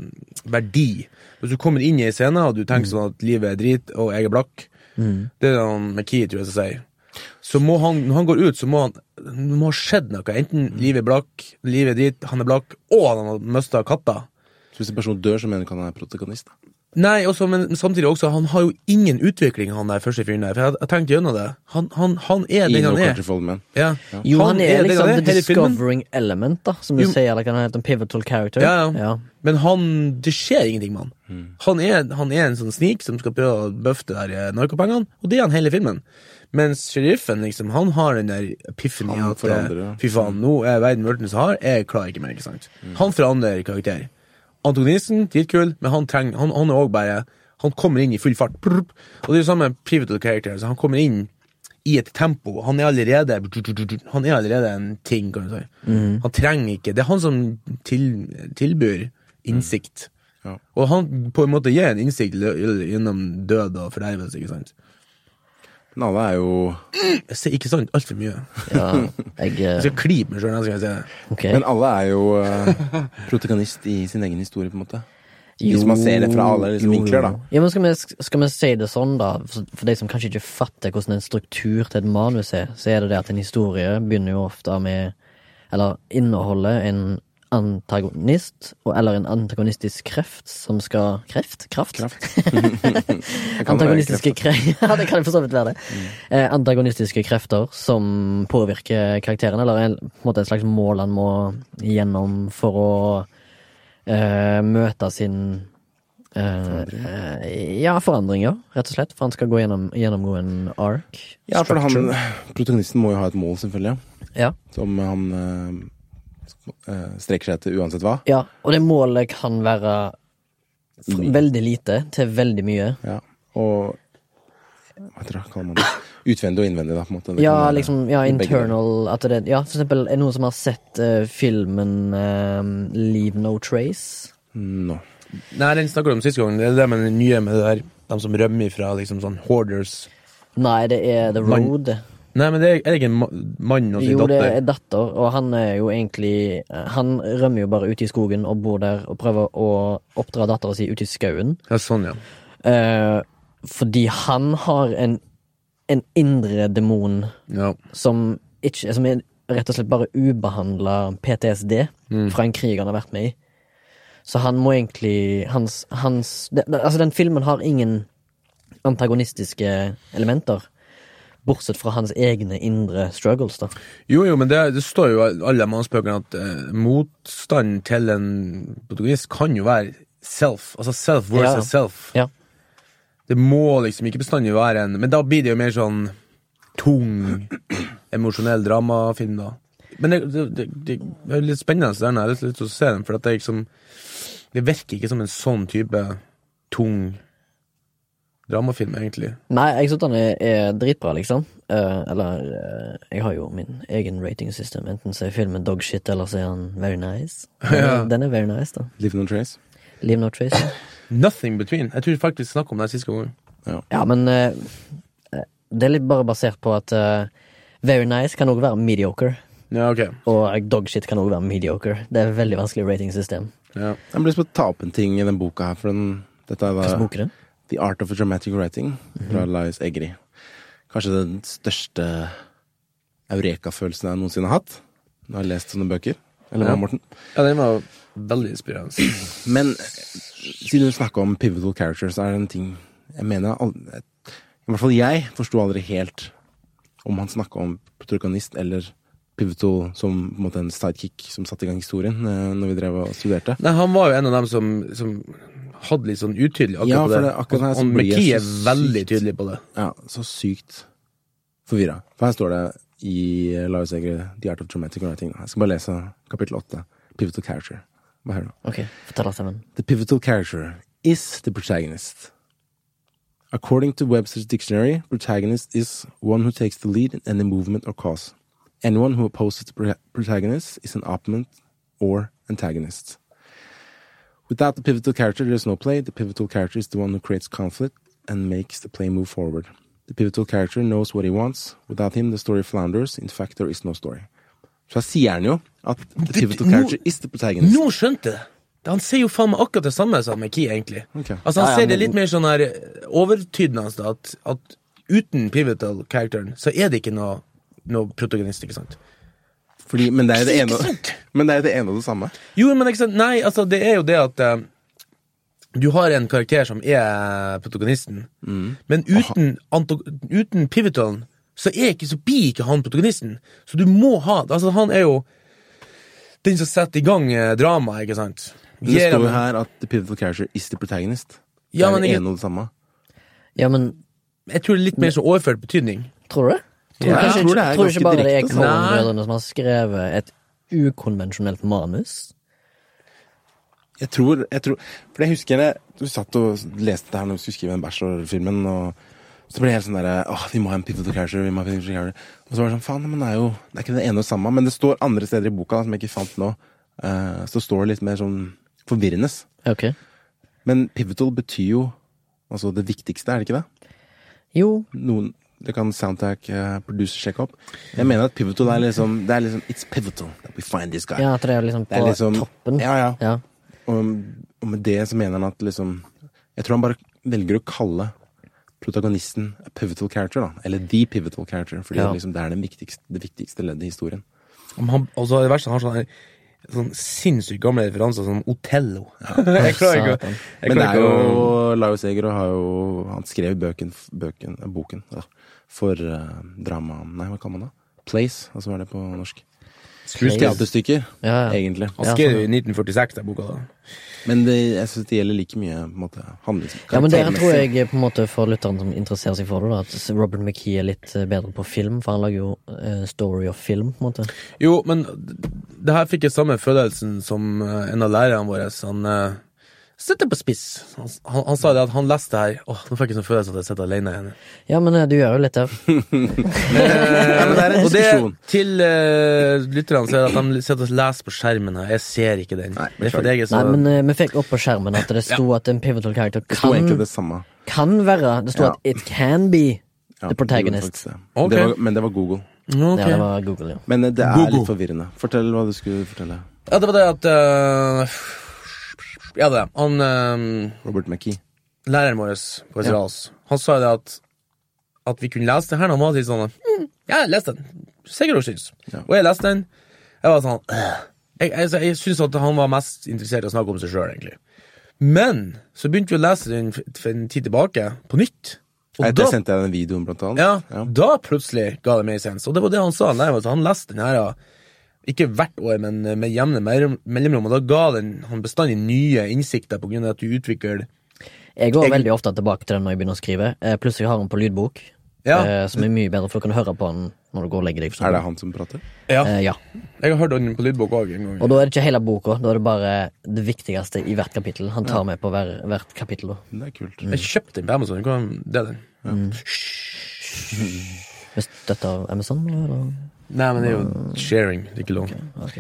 C: verdi. Hvis du kommer inn i en scene og du tenker sånn at livet er drit, og jeg er blakk Det er det han McKee, tror jeg, som sier. Så må han, når han går ut, så må han det må ha skjedd noe. Enten livet er blakk, livet er drit, han er blakk, og han har mista katta.
A: Så hvis en person dør, så mener du ikke han er protagonist, da.
C: Nei, også, men men samtidig også, han har jo ingen utvikling, han der første fyren der. For jeg, jeg tenkte gjennom det. Han, han, han er
A: I
C: den
A: No
C: han er.
A: Country for Old Men.
C: Ja.
B: Jo, han, er
C: den
B: liksom
C: han
B: the
C: hele filmen.
B: discovering element, da, som du
C: Jo.
B: sier. Eller kan han hete en pivotal character?
C: Ja, ja. Men han, det skjer ingenting med han. Han, er, han er en sånn snik som skal prøve å bøffe det der eh, narkopengene, og det er han hele filmen. Mens sheriffen, liksom, han har den der piffen i
A: Han
C: at
A: forandrer,
C: eh,
A: ja.
C: fy faen, nå er verden Mørtens har, jeg klarer ikke mer, ikke sant.
A: Mm.
C: Han forandrer karakter. Antonisen, dritkul, men han trenger, han, han er også bare, han kommer inn i full fart. Prrp. Og det er jo samme med pivotal character, så han kommer inn i et tempo. Han er allerede Han er allerede en ting, kan du si.
A: Mm.
C: Han trenger ikke Det er han som til, tilbyr innsikt.
A: Mm. Ja.
C: Og han på en måte gir en innsikt lø- gjennom død og fordervelse, ikke sant?
A: Men alle er jo
C: Jeg sier ikke sant altfor mye.
B: Ja, jeg
C: Jeg
B: eh,
C: skal klype meg sjøl neste gang jeg sier det.
B: Ok.
A: Men alle er jo eh, protagonist i sin egen historie, på en måte. Hvis
B: Jo,
A: man ser det fra alle liksom,
B: jo, jo.
A: vinkler, da.
B: Ja, men skal vi, skal vi si det sånn, da, for for de som kanskje ikke fatter hvordan en struktur til et manus er, så er det det at en historie begynner jo ofte med Eller inneholder en antagonist, og, eller en antagonistisk kreft som skal Kreft? Kraft?
A: Kraft. Det kan være Mm.
B: Antagonistiske
A: kreft.
B: krefter Ja, det kan for så vidt være det. Eh, antagonistiske krefter som påvirker karakteren, eller en, på en måte et slags mål han må gjennom for å eh, møte sin eh, eh, ja, forandringer, rett og slett. For han skal gå gjennom, gjennomgå en ark.
A: Ja, for han, protagonisten må jo ha et mål, selvfølgelig. ja.
B: Ja.
A: Som han eh, eh, strekker seg etter uansett hva.
B: ja, og det målet kan være fra
A: Mye.
B: veldig lite til veldig mye.
A: Ja. Og hva heter det, kaller man det? Utvendig og innvendig, da, på en måte. Det kan
B: Ja,
A: være
B: liksom, ja,
A: begge deler.
B: internal at det, Ja, for eksempel, er det noen som har sett eh, filmen eh, Leave No Trace?
A: Nå.
C: Nei, den snakka du om sist gang. Det er det med den nye med det der, de som rømmer fra liksom sånn hoarders.
B: Nei, det er The
C: Man-
B: Road.
C: Nei, men det er, er det ikke en ma- mann og sin
B: Jo, det
C: datter?
B: er datter, og han er jo egentlig eh, Han rømmer jo bare ut i skogen og bor der og prøver å oppdra dattera si ute i skauen.
C: Ja, sånn, ja.
B: Eh, fordi han har en, en indre demon
C: ja.
B: som, ikke, som er rett og slett bare ubehandla PTSD fra en krig han har vært med i. Så han må egentlig hans, hans det, det, Altså, den filmen har ingen antagonistiske elementer. Bortsett fra hans egne indre struggles, da.
C: Jo, jo, men det, det står jo i alle mannsbøkene at eh, motstanden til en protagonist kan jo være self. Altså self versus
B: Ja.
C: self.
B: Ja.
C: Det må liksom ikke bestandig være en Men da blir det jo mer sånn tung, emosjonell dramafilm, da. Men det, det, det, det er jo litt spennende, så den har jeg lyst- lyst til å se den, for at det, er liksom, det virker ikke som en sånn type tung dramafilm, egentlig.
B: Nei, jeg syns den er, er dritbra, liksom. Eh, eller eh, Jeg har jo min egen ratingsystem. Enten så er filmen dogshit, eller så er han very nice. Den,
C: Ja.
B: er- den er very nice, da.
A: Leave no trace.
B: Leave no trace.
C: Nothing between. Jeg tror vi faktisk snakket om det sist gang.
B: Ja, men eh, eh, det er litt bare basert på at eh, Very nice kan også være mediocre,
C: Ja, ok.
B: og dogshit kan også være mediocre. Det er et veldig vanskelig ratingsystem.
C: Ja.
A: Jeg blir lyst til å ta opp en ting i den boka her, for den, dette er
B: Hva
A: da
B: smoker den?
A: The Art of Dramatic Writing fra
B: Mhm.
A: Laius Egri. Kanskje den største eureka-følelsen jeg noensinne har hatt når jeg har lest sånne bøker. Eller hva,
C: Ja.
A: Morten?
C: ja, den var veldig inspirerende.
A: Men siden du snakka om pivotal characters, er det en ting jeg mener al- I hvert fall jeg forsto aldri helt om han snakka om protagonist eller pivotal som på en måte en sidekick som satte i gang historien, eh, når vi drev og studerte.
C: Nei, han var jo en av dem som, som hadde litt sånn utydelig akkurat
A: Ja,
C: på
A: for
C: det.
A: det er akkurat her
C: og
A: som blir
C: McKee
A: jeg
C: er
A: så
C: veldig
A: sykt-
C: tydelig på det.
A: Ja, så sykt forvirra. For her står det i Lars Egre, The Art of Dramatic Writing. Jeg skal bare lese kapittel åtte. Pivotal character. Hva hører du?
B: Ok, fortell oss sammen.
A: The pivotal character is the protagonist. According to Webster's dictionary, protagonist is one who takes the lead in any movement or cause. Anyone who opposes the pro- protagonist is an opponent or antagonist. Without the pivotal character, there is no play. The pivotal character is the one who creates conflict and makes the play move forward. The pivotal character knows what he wants. Without him, the story flounders. In fact, there is no story. Så her sier han jo at the pivotal
C: nå-
A: character is the protagonist.
C: Nå skjønte jeg det! Han sier jo faen meg akkurat det samme som McKee, egentlig.
A: Ok.
C: Altså, han
B: Ja, ja,
C: sier det
B: men-
C: litt mer sånn her overtydende, altså, at, at uten pivotal characteren, så er det ikke noe, noe protagonist, ikke sant?
A: Fordi, men det er jo det
C: Ikke
A: ene
C: sant?
A: Men det er jo det ene og det samme.
C: Jo, men ikke sant? Nei, altså, det er jo det at eh, Du har en karakter som er protagonisten, men uten, anto- uten pivotalen så, er ikke, så blir ikke han protagonisten. Så du må ha altså Han er jo den som setter i gang eh, dramaet, ikke sant?
A: Men det
C: Gir
A: står jo
C: han-
A: her at the pivotal character is the protagonist. Det
C: Ja,
A: er
C: men
A: det
C: ikke-
A: ene og det samme.
B: Ja, men
C: Jeg tror det er litt mer som overført betydning.
B: tror du det?
A: Ja,
B: Tror, du
A: jeg
B: kanskje
A: tror
B: ikke-
A: det er
B: tror du ikke
A: ganske
B: bare det er
A: direkte,
C: sånn.
B: Coen-brødrene som har skrevet et ukonvensjonelt manus?
A: Jeg tror, jeg tror For jeg husker jeg, du satt og leste det her når du skulle skrive den Bachelor-filmen, og så ble jeg helt sånn derre Åh, vi må ha en pivotal character, vi må ha en pivotal character. Og så var det sånn, faen, men det er jo Det er ikke det ene og det samme. Men det står andre steder i boka som jeg ikke fant nå, eh, så står det litt mer sånn forvirrende.
B: Ok.
A: Men pivotal betyr jo altså det viktigste, er det ikke det?
B: Jo,
A: Noen det kan soundtrack eh, producer sjekke opp. Jeg mener at pivotal er liksom Det er liksom It's pivotal that we find this guy.
B: ja, at det er liksom
A: det er
B: på
A: liksom
B: toppen.
A: Ja, ja.
B: Ja.
A: Og, og med det så mener han at liksom Jeg tror han bare velger å kalle protagonisten a pivotal character, da. Eller the pivotal character, fordi
B: Ja.
A: liksom, det er den viktigste, det viktigste leddet i historien.
C: Om Han, altså, det verste, han har sånne sånn sinnssykt gamle referanser som Otello. jeg klarer ikke å
B: Satan.
C: jeg
A: Men det er
C: klarer ikke å-
A: jo Laius Eger og har jo Han skrev bøken, bøken, eh, boken da, for uh, drama Nei, hva kaller man det? Place, altså hva er det på norsk? Teaterstykker,
B: Ja, ja.
A: egentlig.
C: Han skrev jo i 1946, den boka. da
A: Men det, jeg syns det gjelder like mye på en måte, handlings...
B: Ja, men der
A: karaktermessig.
B: tror jeg eh, på en måte for lytteren som interesserer seg for det, da, at Robert McKee er litt eh, bedre på film, for han lager jo eh, story of film, på en måte.
C: Jo, men d- det her fikk jeg samme følelsen som eh, en av lærerne våre. Han uh, setter på spiss. Han, han, han sa det at han leste det her. Åh, nå fikk jeg sånn følelse at jeg sitter alene igjen.
B: Ja, men eh, du gjør jo litt der.
A: Ja, men det er en
C: Eh, og det
A: diskusjon.
C: til eh, lytterne så er det at de sitter og leser på skjermen her. Jeg ser ikke den.
A: Nei,
C: det er fordi jeg er så
B: Nei, men eh, vi fikk opp på skjermen at det sto at en pivotal character
A: Det sto egentlig
B: kan,
A: det samme.
B: kan være Det sto
A: Ja.
B: at it can be
A: Ja,
B: the protagonist.
A: det gjorde faktisk
C: Ok.
A: det. Det var, men det var Google.
C: Ok.
B: Ja, det var Google, ja.
A: Men eh, det er
C: Google.
A: litt forvirrende. Fortell hva du skulle fortelle.
C: Ja, det var det at eh, Ja, det. Han eh,
A: Robert McKee.
C: læreren vår på Israels, han sa jo det at at vi kunne lese det her. Han var litt sånn mm, Ja, les den. Sikkert hun syns.
A: Ja.
C: Og jeg leste den. Jeg var sånn «Åh». Jeg, jeg, jeg syns at han var mest interessert i å snakke om seg sjøl, egentlig. Men så begynte vi å lese den f- for en tid tilbake, på nytt. Og
A: Nei,
C: da,
A: Der sendte jeg den videoen, blant annet.
C: ja, da plutselig ga det mer sens. Og det var det han sa. Nei, altså, han leste den her ja, ikke hvert år, men eh, med jevne mellom- mellomrom, og da ga den han bestandig nye innsikter på grunn av at du utvikler
B: Jeg går
C: Jeg-
B: veldig ofte tilbake til den når jeg begynner å skrive. Eh, Plutselig har jeg den på lydbok,
C: Ja.
B: eh, som er mye bedre, for du kan høre på den når du går og legger deg. for
A: Er
B: eksempel.
A: det han som prater?
C: Ja.
B: Eh, ja.
C: Jeg har hørt den på lydbok òg en gang.
B: Og da er det ikke hele boka, da er det bare det viktigste i hvert kapittel. Han tar med på hver, hvert kapittel. da.
A: Det er kult.
C: Jeg kjøpte den på Amazon. Hva- Det er den.
B: Med støtte av Amazon, eller?
C: Nei, men det er jo Ah. sharing. Det er ikke lov.
B: Ok.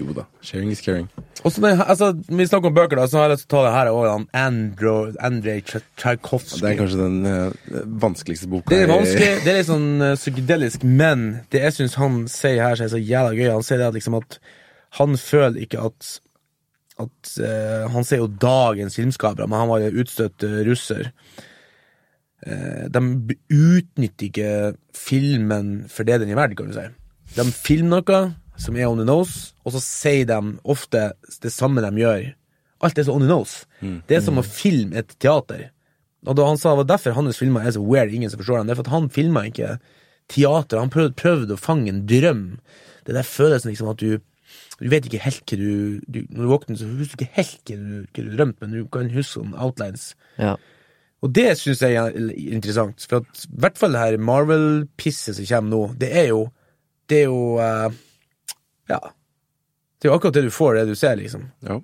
A: Jo da. Sharing is caring.
C: Og så den- altså, Vi snakker om bøker, da, så har jeg lyst til å ta det her òg. Andro- Andrej Tcha- Tsjajkovskij.
A: Det er kanskje den eh, vanskeligste boka
C: Det er
A: i-
C: vanskelig, det er litt sånn eh, psykedelisk, men det jeg syns han sier her, som er så jævla gøy, han sier det at liksom at han føler ikke at at eh, Han sier jo dagens filmskapere, men han var jo utstøtt eh, russer. Eh, de b- utnytter ikke filmen for det den er verdt, kan du si. De filmer noe som er on the nose, og så sier de ofte det samme de gjør. Alt er så on the nose. Det er som å filme et teater. Og da han sa det var derfor hans filmer er så weird, ingen som forstår dem. Det er for at han filma ikke teater, han prøvde, prøvde å fange en drøm. Det der følelsen liksom at du du vet ikke helt hva du, du Når du våkner, så husker du ikke helt hva du, hva du drømte, men du kan huske sånn outlines.
B: Ja.
C: Og det syns jeg er interessant, for at i hvert fall det her Marvel-pisset som kommer nå, det er jo Det er jo eh, Ja. Det er jo akkurat det du får, det du ser, liksom.
A: Ja.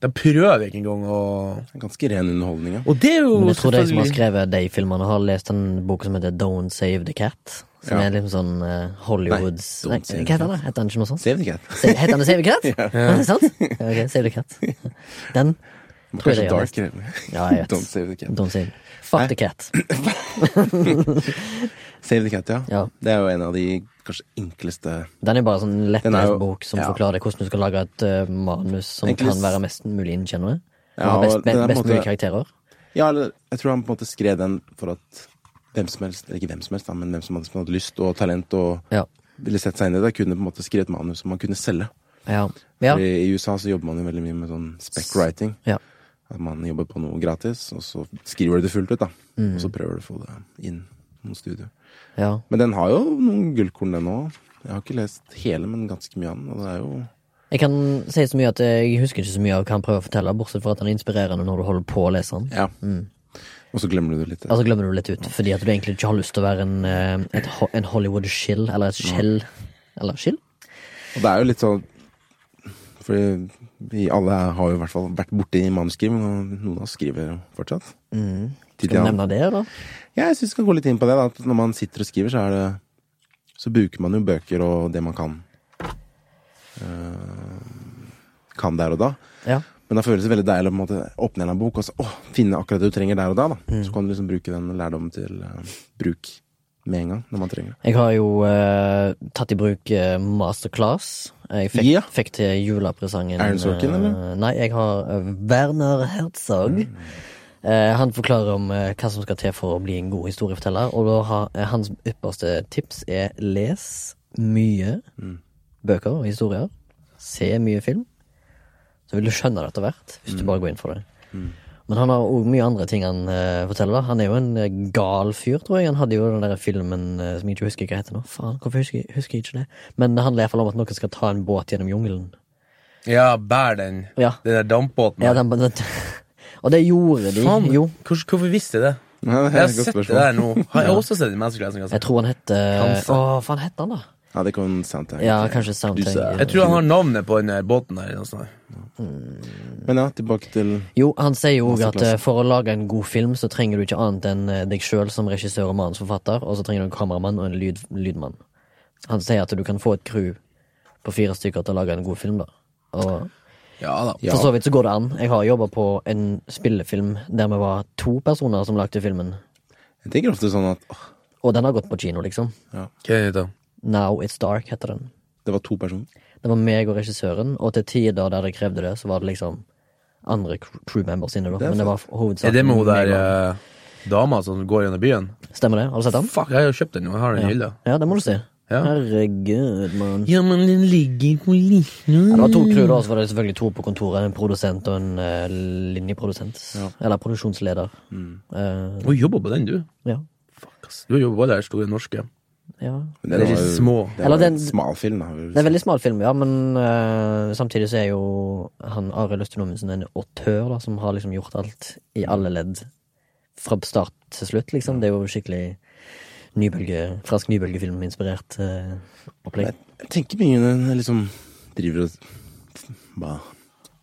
C: De prøver ikke engang å
A: Ganske ren underholdning, ja.
C: Og det er jo
B: Men jeg tror de som har
C: Oh, selvfølgelig-
B: skrevet de filmene, har lest en bok som heter Don't Save the Cat. Som
A: Ja.
B: er liksom sånn eh, Hollywoods
A: Nei, Don't
B: Nei,
A: Save the
B: Hva heter den? da? Heter den ikke noe sånt?
A: Save the cat.
B: Se- Heter den Save the Cat? Er det sant? Ja, ok, Save the Cat. Den tror
A: Kanskje
B: jeg jeg har
A: dark.
B: lest. Ja, jeg vet.
A: Don't save the cat.
B: Don't Save. Fuck the Cat.
A: Save the cat, ja.
B: Ja.
A: Det er jo en av de kanskje enkleste
B: Den er bare sånn
A: Den er jo-
B: lettlest bok som
A: ja.
B: forklarer deg hvordan du skal lage et eh, manus som
A: Egentlig s-
B: kan være mest mulig innkjennende. Og
A: Ja,
B: ha best,
A: og den er på en
B: best mulig
A: måte-
B: karakterer.
A: Ja, eller jeg tror han på en måte skrev den for at hvem som helst, eller ikke hvem som helst, da, men hvem som hadde, som hadde lyst og talent og
B: Ja.
A: ville sett seg inn i det, kunne på en måte skrevet manus som man kunne selge.
B: Ja. ja.
A: Fordi I USA så jobber man jo veldig mye med sånn spec-writing.
B: ja.
A: At man jobber på noe gratis, og så skriver du det fullt ut, da.
B: Mm.
A: Og så prøver du å få det inn mot studio.
B: Ja.
A: Men den har jo noen gullkorn, den òg. Jeg har ikke lest hele, men ganske mye av den. Og det er jo
B: Jeg kan si så mye at jeg husker ikke så mye av hva han prøver å fortelle, bortsett fra at han er inspirerende når du holder på å lese han.
A: Ja. Og så glemmer du det litt.
B: Altså glemmer du litt ut, fordi at du egentlig ikke har lyst til å være en, eh, et, ho- en Hollywood-skill, eller et skjell Eller skill?
A: Og det er jo litt sånn Fordi vi alle har jo i hvert fall vært borti manuskriving, og noen av oss skriver jo fortsatt.
B: Mm. Skal du nevne det, da?
A: Ja, jeg syns vi skal gå litt inn på det. Da. At når man sitter og skriver, så er det Så bruker man jo bøker og det man kan. eh, kan der og da.
B: Ja.
A: Men da føles det veldig deilig å på en måte åpne en bok og så, åh, finne akkurat det du trenger der og da. da.
B: Mm.
A: Så kan du liksom bruke den lærdommen til eh, bruk med en gang, når man trenger det.
B: Jeg har jo eh, tatt i bruk eh, masterclass. Jeg fikk,
A: Ja.
B: fikk til julepresangen
A: Aaron Sorkin,
B: eh,
A: eller?
B: Nei, jeg har eh, Werner Herzog. Eh, han forklarer om eh, hva som skal til for å bli en god historieforteller, og da har, eh, hans ypperste tips er les mye bøker og historier. Se mye film. Så vil du skjønne det etter hvert, hvis du bare går inn for det. Men han har òg mye andre ting han eh, forteller. da. Han er jo en eh, gal fyr, tror jeg. Han hadde jo den der filmen eh, som jeg ikke husker hva heter nå. Faen, hvorfor husker, jeg- husker jeg ikke det? Men det handler iallfall om at noen skal ta en båt gjennom jungelen.
C: Ja, bær den.
B: Ja.
C: Den der dampbåten.
B: Ja, den, den, og det gjorde de.
C: Faen,
B: Jo.
C: Hvor, hvorfor visste jeg det?
A: Ja, det
C: Jeg
A: er
C: har
A: et godt
C: sett det
A: spørsmål.
C: der nå. Har jeg også sett det i menneskelesning?
B: Jeg
C: Altså.
B: tror han heter
C: Kanskje.
B: Å, hva faen heter han, da?
A: Ja, det kan soundtag.
B: Ja, kanskje Soundtag.
A: sa-
B: ja.
C: Jeg tror han har navnet på den der båten der. altså. eller noe sånt.
A: Men ja, tilbake til
B: Jo, han sier jo også at
A: Masterclass.
B: eh, for å lage en god film, så trenger du ikke annet enn eh, deg sjøl som regissør og manusforfatter, og så trenger du en kameramann og en lyd, lydmann. Han sier at du kan få et crew på fire stykker til å lage en god film, da. Og
C: Ja da.
A: Ja.
B: for så vidt så går det an. Jeg har jobba på en spillefilm der vi var to personer som lagde filmen,
A: Jeg tenker ofte sånn at åh,
B: og den har gått på kino, liksom.
C: Hva er det da?
B: Now It's Dark heter den.
A: det var to personer.
B: Det var meg og regissøren, og til tider der det krevde det, så var det liksom andre cr- crew members inne, da.
A: er
B: Men det var
C: Er
B: hovedsaken.
C: det med hun
B: meg
C: der
B: og-
C: eh, dama som går gjennom byen?
B: Stemmer det? Har du sett den?
C: Fuck, jeg har jo kjøpt den, og jeg har den i hylla.
B: Ja, det må du si.
C: Ja.
B: Herregud, mann.
C: Ja, men den ligger på
B: Ja,
C: liten
B: det var to crew, da, og så var det selvfølgelig to på kontoret. En produsent og en eh, linjeprodusent. Eller produksjonsleder. Eh,
C: Du jobber på den, du.
B: ja.
C: Fuck, ass. Du har jobba på alle de store norske.
B: ja.
A: Men
C: Det er
A: var
C: ikke
A: jo-
C: små.
A: Det
B: Eller
A: var
B: den-
A: en smal film, da.
B: Det er en veldig smal film, ja, men eh, samtidig så er jo han Arild Østen Omundsen en autør, da, som har liksom gjort alt i alle ledd. Fra start til slutt, liksom. Det er jo skikkelig nybølge, fransk nybølgefilm-inspirert eh, opplegg.
A: Jeg, jeg tenker mye når jeg liksom driver og bare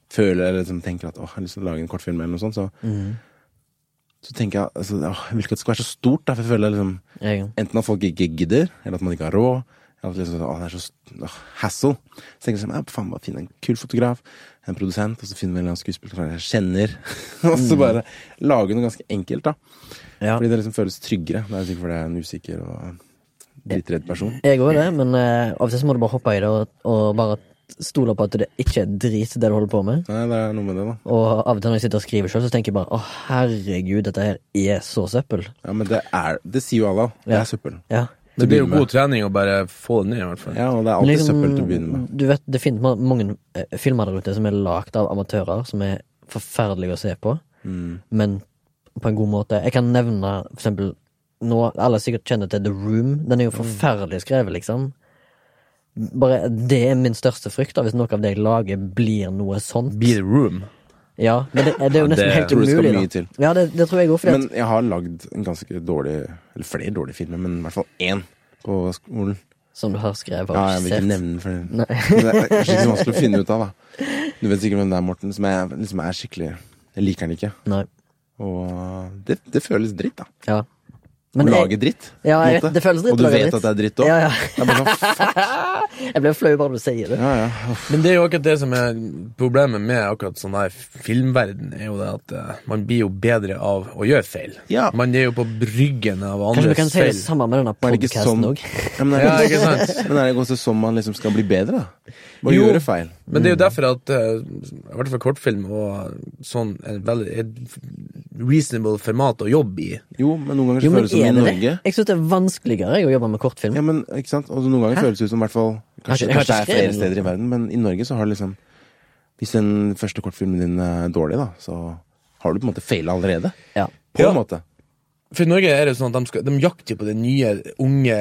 A: føler eller liksom tenker at åh, jeg har lyst til å lage en kortfilm eller noe sånt, så,
B: Mm.
A: så tenker jeg altså, åh, jeg vil ikke at det skal være så stort, da, for jeg føler liksom
B: Jeg,
A: enten at folk ikke gidder, eller at man ikke har råd. Eller at liksom, åh, det er så st- åh, hassle. Så tenker jeg sånn, ja, faen, bare finne en kul fotograf, en produsent, og så finner vi en eller annen skuespiller som jeg kjenner. og så bare lage noe ganske enkelt, da.
B: Mm. ja.
A: Fordi det liksom føles tryggere. Det er sikkert fordi jeg er en usikker og drittredd person.
B: Jeg òg det, men eh, av og til så må du bare hoppe i det og, og bare stole på at det ikke er drit det du holder på med.
A: Nei, det er noe med det, da.
B: Og av og til når jeg sitter og skriver sjøl, så tenker jeg bare å herregud, dette her er så søppel.
A: Ja, men det er Det sier jo alle. Det
B: Ja.
A: er søppel.
B: Ja.
C: Det blir jo god trening å bare få det ned, i hvert fall.
A: Ja, og det er
B: Men
A: alltid
B: liksom,
A: søppel til å begynne med.
B: Du vet, det finnes ma- mange eh, filmer der ute som er lagd av amatører, som er forferdelige å se på,
A: Mm.
B: men på en god måte. Jeg kan nevne for eksempel nå, Alle sikkert kjenner til The Room.
A: Mm.
B: Den er jo forferdelig skrevet, liksom. Bare Det er min største frykt, da, hvis noe av det jeg lager, blir noe sånt.
C: Be the room.
B: Ja, men det, det er jo nesten
C: det
B: helt
A: tror jeg skal
B: umulig.
A: mye
B: da.
A: til.
B: Ja, det, det tror jeg òg, fordi at
A: Men jeg har lagd en ganske dårlig Eller flere dårlige filmer, men i hvert fall én på skolen.
B: Som du har skrevet og
A: Ja, jeg vil
B: regissert.
A: ikke nevne den, for det det er kanskje ikke så vanskelig å finne ut av. da Du vet sikkert hvem det er, Morten, som jeg liksom er skikkelig Jeg liker den ikke.
B: Nei.
A: Og det, det føles dritt, da.
B: Ja.
A: å
B: jeg-
A: lage dritt. på
B: Ja,
A: en
B: jeg-
A: måte.
B: det føles dritt
A: Og du
B: å lage
A: vet
B: dritt.
A: at det er dritt òg.
B: Ja, ja.
A: Det er bare sånn, faen,
B: Jeg blir flau bare du sier det.
A: ja, ja. uff.
C: Men det er jo akkurat det som er problemet med akkurat sånn her filmverden, er jo det at eh, man blir jo bedre av å gjøre feil.
A: Ja.
C: Man er jo på bryggen av
B: Kanskje
C: andres
B: vi kan si
C: feil.
B: det samme med denne
A: Er det ikke sånn
B: podkasten òg?
A: ja, men, er
C: Ja,
A: det,
C: ikke sant?
A: men er det ikke også sånn man liksom skal bli bedre? da Å
C: Jo.
A: gjøre feil.
C: Men det er jo derfor at eh, i hvert fall kortfilm og sånn er veldig et reasonable format å jobbe i.
A: Jo, men noen ganger
B: Jo,
A: så
B: men
A: føles det som
B: er
A: i
B: det
A: Norge.
B: det? Jeg syns det er vanskeligere jeg, å jobbe med kortfilm.
A: Ja, men ikke sant? Og noen ganger føles det ut som i hvert fall Kanskje,
B: Jeg har ikke
A: kanskje det er flere
B: skrevet
A: steder i verden, men i Norge så har det liksom Hvis den første kortfilmen din er dårlig, da, så har du på en måte faila allerede.
B: Ja.
A: På
C: Ja.
A: en måte.
C: For i Norge er det sånn at de, skal, de jakter jo på det nye, unge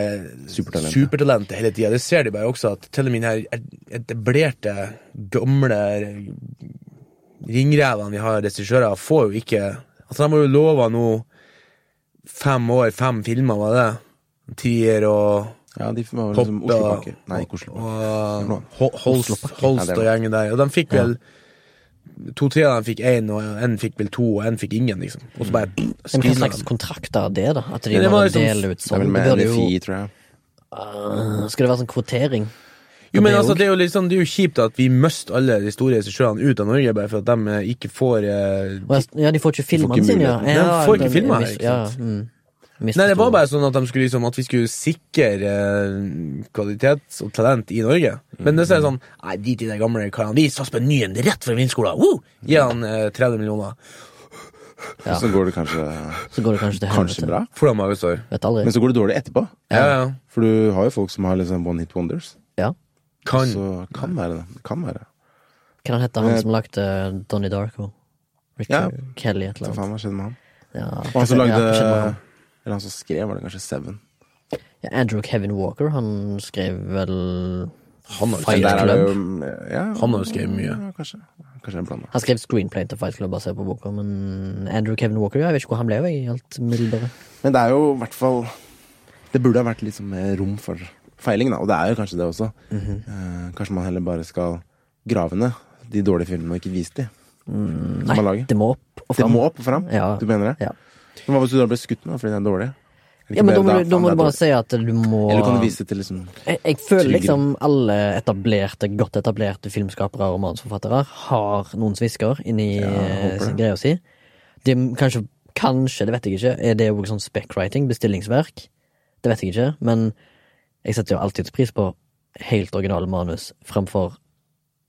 A: Supertalentet.
C: supertalentet hele tida. Det ser de bare også, at til og med de her etablerte, gamle ringrevene vi har, regissører, får jo ikke Altså, de har jo lova nå fem år, fem filmer, var det? Tier og
A: Ja, de var vel
C: Hoppe
A: liksom
C: og,
A: Oslopakke. Nei, ikke Oslopakke.
C: og
A: Blå.
C: Ho- Holst,
B: Oslopakke.
A: Ja,
C: Holst
A: det
C: og
A: var-
C: gjengen der. Og de fikk vel To-tre av dem fikk én, og én fikk vel to, og én fikk ingen, liksom. Og så bare
B: Men hva
C: skrina
B: slags
C: dem.
B: kontrakter er det, da? At de
C: Ja, det var
B: bare
C: liksom-
B: deler ut
A: Det er
B: sånn?
A: vel
B: Det
A: med
B: burde jo,
A: NFI, tror jeg.
B: Ah, skal det være sånn kvotering?
C: Jo, men
B: Det
C: altså,
B: òg.
C: det er jo liksom, det er jo kjipt at vi mister alle de store regissørene ut av Norge bare for at de eh, ikke får eh,
B: Og jeg- Ja, de får ikke filmene
A: ikke
B: sine, ja.
A: muligheten.
B: ja.
C: De får ikke
B: den-
C: filmer,
B: mis-
C: ikke
B: ja,
C: sant?
B: mm.
C: Nei, det var
B: Misforstå.
C: bare sånn at, de skulle liksom, at vi skulle sikre eh, kvalitet og talent i Norge. Men det er sånn Nei, drit i de gamle karene. Vi satser på en ny en rett fra vinskolen! Woo! Gi han eh, 30 millioner.
B: Ja.
A: Så går det kanskje,
B: Så går det kanskje til
A: kanskje
B: helvete.
A: bra,
C: For de har jo sår.
B: Vet aldri.
A: men så går det dårlig etterpå.
C: Ja, ja.
A: For du har jo folk som har liksom one hit wonders.
B: Ja.
C: Kan.
A: Så kan være det. Kan være.
B: Hva han heter han som lagde Donnie Darko? Richard Kelly, et eller
A: Hva
B: annet.
A: faen, hva skjedde med han?
B: Ja,
A: Og han som lagde
B: ja, skjønner hva han-
A: Eller han som skrev, var det kanskje Seven.
B: ja, Andrew Kevin Walker, han skrev vel
C: Han har jo
B: Fight
A: Men der er det
B: Club.
A: jo ja,
C: Han har jo skrevet mye.
A: Ja, kanskje. Kanskje en blanda.
B: Han skrev screenplay til Fight Club basert på boka, men Andrew Kevin Walker, ja, jeg vet ikke hvor han ble av, jeg. Alt mildere.
A: Men det er jo i hvert fall Det burde ha vært litt sånn mer rom for feiling, da. Og det er jo kanskje det også.
B: Mhm.
A: eh, kanskje man heller bare skal grave ned de dårlige filmene og ikke vise de. Som man
B: Mm, Nei,
A: lager.
B: det må opp og
A: Det
B: fram.
A: må opp og fram?
B: Ja.
A: Du mener det?
B: Ja.
A: Men hva hvis du da ble skutt med fordi den er dårlig? Eller
B: Ja,
A: ikke
B: men da
A: bare,
B: må,
A: "Da,
B: du, da
A: faen,
B: må
A: det
B: du
A: er
B: bare
A: dårlig."
B: si at du må
A: Eller kan du vise det til liksom
B: Jeg, jeg føler
A: Tryggere.
B: liksom alle etablerte, godt etablerte filmskapere og manusforfattere har noen svisker inni
A: jeg håper det.
B: eh, greia si. De, kanskje, kanskje, det vet jeg ikke, er det jo sånn spec-writing, bestillingsverk? Det vet jeg ikke, men jeg setter jo alltids pris på helt originale manus framfor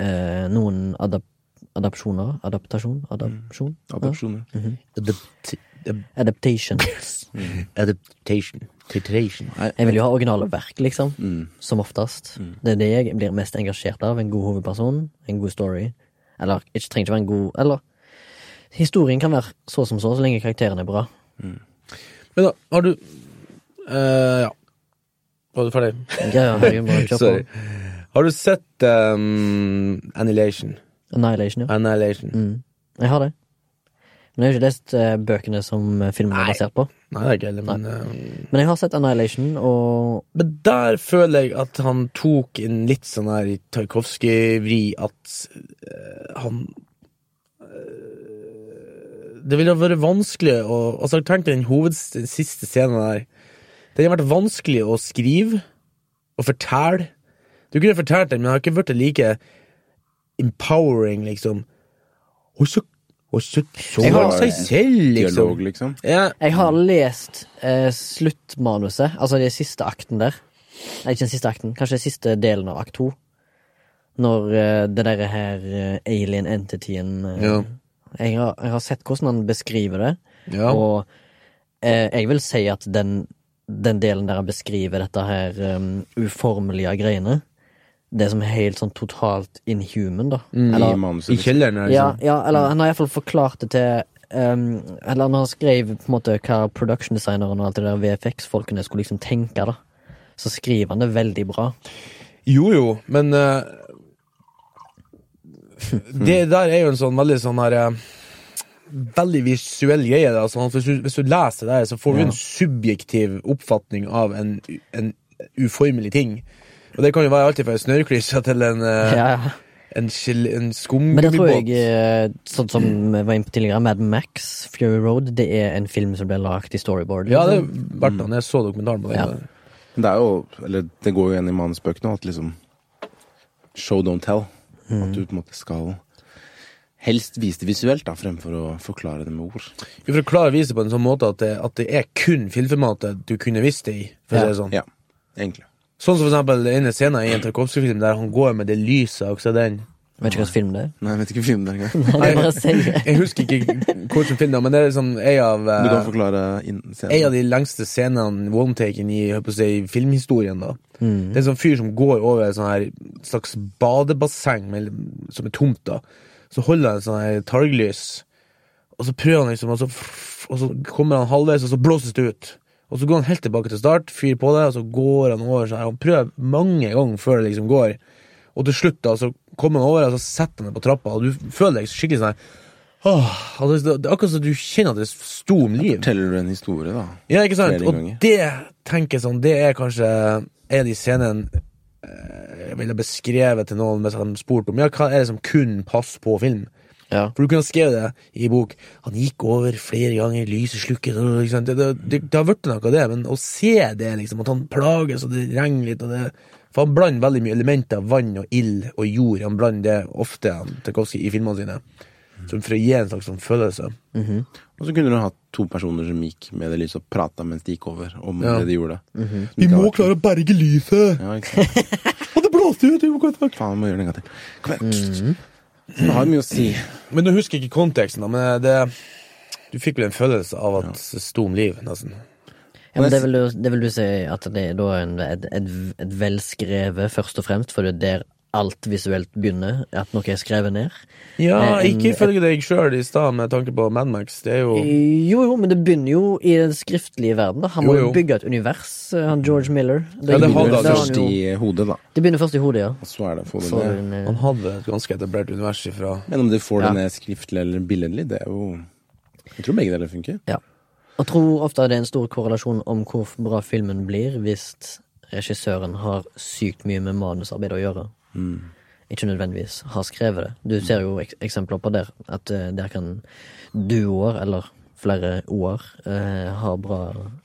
B: eh, noen adap adapsjoner Adaptasjon?
A: Mm.
B: Adapsjon? Ja. Liksom.
A: adopsjoner?
B: Adaptation.
C: Adaptation. Titration.
B: Jeg vil jo ha originale verk, liksom.
C: Mm.
B: Som oftest. Det er det jeg blir mest engasjert av. En god hovedperson, en god story. Eller ikke trenger ikke være en god Eller historien kan være så som så, så lenge karakteren er bra.
C: Men da, har du eh, Ja. Var du ferdig?
B: Ja, ja, herregud, bare kjør på.
C: Sorry. Har du sett um, Annihilation?
B: Annihilation, ja.
C: Annihilation.
B: Mm. Jeg har det. Men jeg har ikke lest eh, bøkene som eh, filmen er
C: Nei.
B: basert på.
C: Nei, det er ikke heller, men eh,
B: Men jeg har sett Annihilation, og
C: Men der føler jeg at han tok en litt sånn her Tarkovskij-vri at eh, han eh, Det ville ha vært vanskelig å Altså, tenk deg den hoveds... Den siste scenen der. Den har vært vanskelig å skrive og fortelle. Du kunne fortalt den, men det har ikke blitt like empowering, liksom. Og så Og så så
B: Jeg har-
C: han seg selv,
A: Dialog,
C: liksom.
A: liksom?
C: Ja,
B: jeg har lest eh, sluttmanuset, altså den siste akten der. Nei, ikke den siste akten, kanskje den siste delen av akt to. Når eh, det derre her eh, alien entityen eh,
C: ja.
B: jeg, har, jeg har sett hvordan han beskriver det,
C: ja.
B: og eh, jeg vil si at den, den delen der han beskriver dette her um, uformelige greiene, det som er helt sånn totalt inhuman, da.
C: Mm.
A: I
B: Eller
A: manuset?
C: I
A: liksom.
C: kjelleren, her,
B: ja,
C: liksom.
B: ja, eller han har iallfall forklart det til ehm, Eller han har skrevet på en måte hva production designeren og alt det der VFX-folkene skulle liksom tenke, da. Så skriver han det veldig bra.
C: Jo, jo, men eh, Det der er jo en sånn veldig sånn her eh, Veldig visuell greie. Da. Sånn at hvis, du, hvis du leser det, her, så får du en subjektiv oppfatning av en, u- en uformelig ting. Og det kan jo være alt fra en snørrklyse til en, eh,
B: Ja, ja.
C: en, skil- en
B: Men det tror
C: skumgummibåt.
B: jeg, eh, sånn som vi var inne på tidligere, Mad Max, Fury Road, det er en film som ble lagd i storyboard.
C: Ja, det
B: liksom.
C: ble han. Jeg så dokumentaren på den.
B: Ja.
A: Men Det er jo, eller det går jo igjen i manusbøkene at liksom Show don't tell. At du på en måte skal helst vise det visuelt, da, fremfor å forklare det med ord.
C: Jo, For å klare å vise på en sånn måte at det, at det er kun filmformatet du kunne visst det i. For å si det sånn.
A: Ja, egentlig.
C: Sånn som for eksempel den ene scenen i en Tarkovskij-film der han går med det lyset, og så er den
B: Vet ikke hvilken film det er.
A: Nei, jeg vet ikke filmen der engang.
B: Jeg bare sier
C: Jeg husker ikke hvilken film det er, men det er sånn en av
A: Du kan
C: eh,
A: forklare inn
C: En av
A: scenen.
C: de lengste scenene one-taken i jeg holdt på å si, filmhistorien. da Det er en sånn fyr som går over et sånn her slags badebasseng med, som er tomt. da Så holder han et sånn her targlys, Og så prøver han liksom, og så, og så kommer han halvveis, og så blåses det ut. Og så går han helt tilbake til start, fyrer på det, og så går han over. sånn her. Han prøver mange ganger før det liksom går. Og til slutt da, så kommer han over, og så setter han deg på trappa, og du føler deg skikkelig sånn her Åh, altså, det det er akkurat som du kjenner at det sto om liv.
A: Forteller du en historie, da?
C: Ja, ikke sant?
A: Flere
C: Og
A: ganger.
C: det tenker jeg sånn, det er kanskje en av de scenene eh, jeg ville beskrevet til noen hvis de spurte om ja, hva er det som kun passer på film.
B: Ja.
C: For du kunne ha skrevet det i bok. Han gikk over flere ganger, lyset slukket og ikke sant? Det, det, det, det har vært noe av det, men å se det, liksom, at han plages og det regner litt og det, For han blander veldig mye elementer av vann og ild og jord. Han blander det ofte han, Tarkovsky, i filmene sine. Som for å gi en slags sånn følelse.
A: Og så kunne du hatt to personer som gikk med det lyset og prata mens de gikk over, om
C: Ja.
A: det de gjorde.
C: Vi må klare å berge lyset!
A: Ja, ikke sant?
C: Og det blåste ut! Vi må gå tilbake!
A: Faen, jeg må gjøre det en gang til. Kom igjen. Det har mye å si.
C: Men nå husker jeg ikke konteksten, da, men det Du fikk vel en følelse av at det sto om liv, nesten.
B: Ja, men det vil, du, det vil du si at det er da en, et, et, et velskrevet, først og fremst, for det er der alt visuelt begynner, at noe er skrevet ned?
C: Ja,
B: Eh, en-
C: ikke ifølge deg sjøl i stad, med tanke på Mad Max. Det er jo
B: Eh, Jo, jo, men det begynner jo i den skriftlige verden. Da. Han må
C: Jo,
B: jo,
C: jo.
B: bygge et univers, eh, han George Miller.
C: Ja, det
A: Det
C: har
A: begynner
C: han
B: det,
A: først
B: jo,
A: i hodet, da.
B: det begynner først i hodet, ja.
A: Og så er det å få det
B: Så,
A: ned.
B: eh,
C: Han hadde et ganske etablert univers ifra
A: Men om du får
B: Ja.
A: det ned skriftlig eller billedlig, det er jo Jeg tror begge deler funker.
B: Ja. Jeg tror ofte det er en stor korrelasjon om hvor bra filmen blir hvis regissøren har sykt mye med manusarbeid å gjøre. Ikke nødvendigvis har skrevet det. Du ser jo ek eksempler på der, at eh, der kan duoer, eller flere o-er, eh, ha bra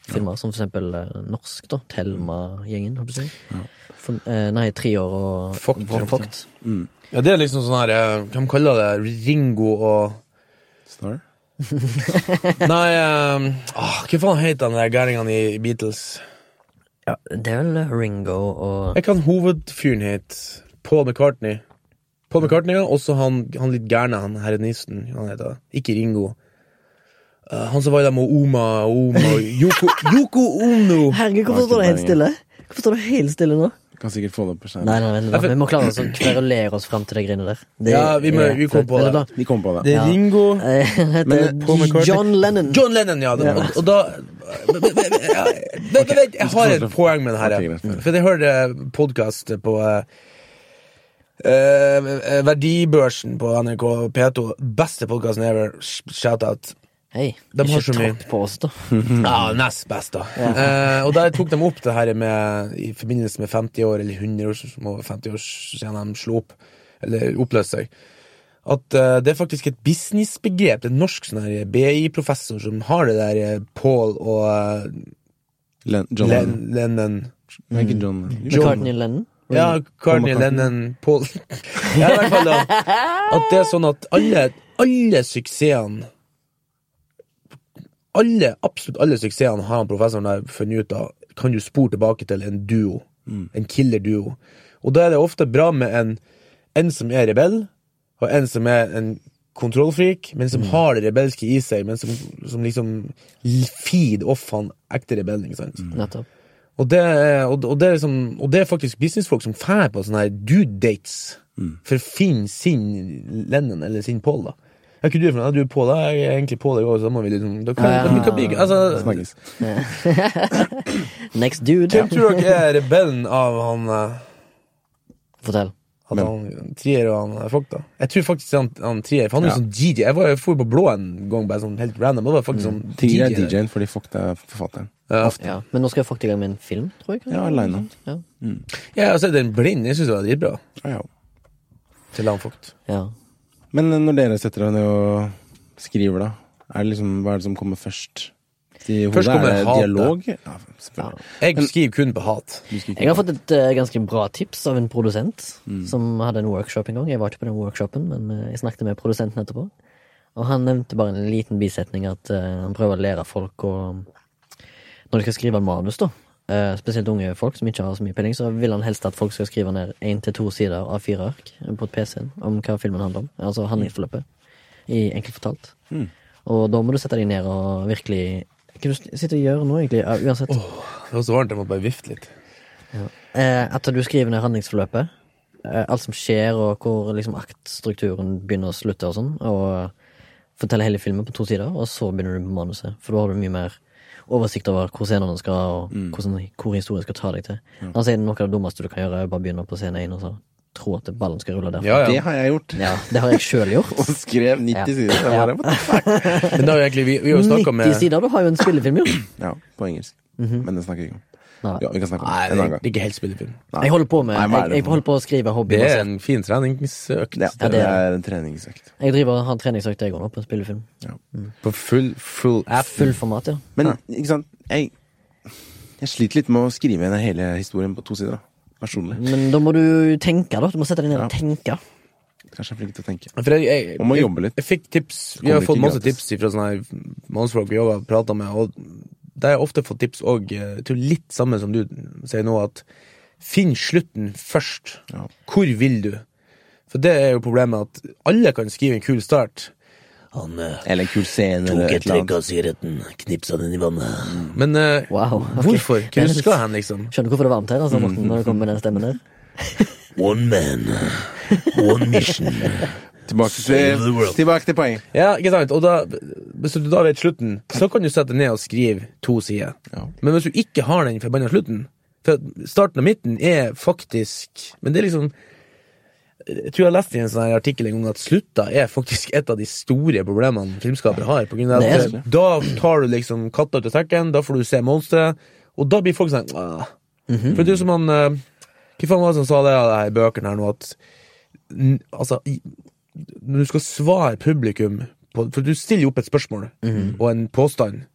B: filmer, som for eksempel eh, norsk, da. Thelma-gjengen, holdt jeg på å si. For- eh, nei, Triår og
C: Vogt,
B: og Vogt.
C: Ja, det er liksom sånn her eh, Hvem kaller det Ringo og
A: Star.
C: Nei, eh, ah, hva faen heter han der gærningen i Beatles?
B: Ja, det er vel Ringo og
C: Jeg kan hovedfyren het Paul McCartney. Paul McCartney, ja. Også han, han litt gærne, han herenisten. Han heter. Ikke Ringo. Eh, han som var i der med Oma Oma Yoko, Yoko Ono.
B: Herregud,
A: hvorfor står det helt stille?
B: Hvorfor står det helt stille nå?
A: Kan sikkert få det opp på skjermen.
B: Nei, nei, vent, litt, vi må klare oss å kverulere oss fram til de greiene der. Det
C: Ja, vi må-
B: er
C: vi kom på
B: flaut.
C: det.
A: Vi kom på det.
C: Det er
B: Ja.
C: Ringo
B: Er det bra? Eh,
A: Men, eh, Paul
B: heter
A: McCartney-
B: John Lennon.
C: John Lennon, ja. Og, og da Vent, vent, vent, vent, vent, jeg har et poeng med
A: Ok,
C: det her.
A: greit, greit.
C: For jeg hørte podkast på eh, eh, Verdibørsen på NRK P2. Beste podkasten ever. Shout-out.
B: Hei,
C: De har så
B: ikke
C: mye.
B: tråkk på oss, da.
C: Ja, nest best, da. Eh, og der tok de opp det her med i forbindelse med 50 år, eller 100 år, som over 50 år siden de slo opp, eller oppløste seg. At eh, det er faktisk et businessbegrep. Det er en norsk sånn her BI-professor som har det der eh, Paul og eh,
A: Len, John
C: Len Lennon
A: Nei, ikke John. Jo.
B: McCartney Lennon.
C: Ja,
A: Paul
C: Carney,
A: McCartney.
C: Lennon, Paul Ja, i hvert fall da At det er sånn at alle, alle suksessene alle, Absolutt alle suksessene har han professoren der funnet ut av, kan du spore tilbake til en duo.
A: Mm.
C: En killer-duo. Og da er det ofte bra med en, en som er rebell, og en som er en kontrollfrik, men
A: Mm.
C: som har det rebelske i seg, men som, som liksom feed off han ekte rebellen. ikke
A: Mm.
C: sant?
B: Nettopp.
C: Og det, er- og, og, det er liksom, og det er faktisk businessfolk som fær på sånne her dude dates for å finne sin Lennon eller sin Paul, da. Ja, ikke du for noe, du er Paul, da. Jeg er egentlig Paul i går, så da må vi liksom da kan,
B: Ja.
C: vi kan bli, altså,
A: Snakkes.
B: Next dude.
C: Hvem tror dere er rebellen av han eh,
B: Fortell.
C: At han Trier og han eh, Folk, da? Jeg tror faktisk han, han Trier, for han er jo sånn DJ. Jeg var jeg for på blå en gang, bare sånn helt random. Det var faktisk sånn
A: Tigger er
C: DJ.
A: DJ-en fordi fuck det er forfatteren.
C: Ja.
B: Ja. Men nå skal jeg faktisk i gang med en film, tror jeg. kanskje?
A: Ja, aleine.
B: Ja.
C: Ja, altså, den blind, jeg syns det var dritbra.
A: Ja, ja.
C: Til han Fugt.
B: ja.
A: Men eh, når dere setter dere ned og skriver, da, er det liksom, hva er det som kommer først? I hodet
C: Først kommer
A: er det
C: hatet.
A: dialog? Ja, selvfølgelig.
C: Jeg skriver kun på hat.
A: Du skal ikke-
B: Jeg har fått et eh, ganske bra tips av en produsent som hadde en workshop en gang. Jeg var ikke på den workshopen, men eh, jeg snakket med produsenten etterpå. Og han nevnte bare en liten bisetning at eh, han prøver å lære folk å Når de skal skrive en manus, da, eh, spesielt unge folk som ikke har så mye peiling, så vil han helst at folk skal skrive ned én til to sider av fire ark på et PC-en om hva filmen handler om. Altså handlingsforløpet, i enkelt fortalt. Og da må du sette deg ned og virkelig Hva er det du sitter og gjør nå, egentlig? Ja, uansett.
C: Det var så varmt, jeg måtte bare vifte litt.
B: Eh, at du skriver ned handlingsforløpet. Eh, alt som skjer, og hvor liksom aktstrukturen begynner og slutter og sånn. Og forteller hele filmen på to sider, og så begynner du på manuset. For da har du mye mer oversikt over hvor scenene skal, og hvordan, hvor historien skal ta deg til. Han sier noe av det dummeste du kan gjøre, er bare begynne på scene én og så tro at ballen skal rulle derfra.
C: Ja,
A: Det
C: ja.
A: har jeg gjort.
B: Ja, det har jeg sjøl gjort.
A: Og skrev 90
B: Ja.
A: sider. Jeg bare, what the fuck?
C: Men det har jo egentlig, vi, vi har jo snakka
B: 90
C: med
B: sider, du har jo en spillefilm, jo.
A: Ja, på engelsk. Men det snakker vi ikke om.
B: Nei.
A: Ja, vi kan snakke om
C: Nei,
A: det en
C: det
A: annen
C: er
A: gang.
C: ikke helt spillefilm.
A: Nei.
B: Jeg holder på med
A: Nei, hva er
B: jeg,
A: det
B: jeg
A: for
B: holder på å skrive altså. hobby.
C: Det er
B: basert.
C: en fin treningsøkt.
A: Ja,
B: Ja,
A: det
B: det er
A: er en treningsøkt.
B: Jeg driver og har treningsøkt jeg går nå på en spillefilm.
C: På full, full app.
B: Full format, ja.
A: Men ikke sant, jeg, jeg sliter litt med å skrive ned hele historien på to sider. da Personlig.
B: Men da må du tenke, da. Du må sette deg ned og
A: Ja.
B: tenke.
A: Kanskje jeg er flink til å tenke.
C: For jeg, jeg,
A: Man må
C: jeg-
A: jobbe litt.
C: Jeg fikk tips. Vi
A: Kommer
C: har
A: ikke
C: fått masse
A: gratis.
C: tips fra sånne her mannsfolk vi jobber og prater med, og der har jeg ofte fått tips òg til litt samme som du sier nå, at finn slutten først.
A: Ja.
C: Hvor vil du? For det er jo problemet at alle kan skrive en kul start. Han eh,
A: Eller en kul scene, eller et eller annet.
C: av sigaretten, knipsa den i vannet. Men eh,
B: Wow, ok.
C: hvorfor? Hva husker han, liksom?
B: Skjønner du hvorfor det er varmt her, altså, Morten, når du kommer med den stemmen der?
C: One man, one mission.
A: Tilbake
C: Save the
A: til,
C: world.
A: tilbake til poenget.
C: Ja, ikke sant? Og da, hvis du da vet slutten, så kan du sette ned og skrive to sider.
A: Ja.
C: Men hvis du ikke har den forbanna slutten For starten og midten er faktisk Men det er liksom Jeg tror jeg leste i en sånn her artikkel en gang at slutta er faktisk et av de store problemene filmskapere har. På grunn av at
B: Det er
C: da tar du liksom katta ut av sekken, da får du se monsteret, og da blir folk sånn «Åh».
B: Mhm.
C: For det er jo som han eh, Hva faen var det som sa det av de her bøkene her nå, at n- Altså, i- når du skal svare publikum på, For du stiller jo opp et spørsmål og en påstand,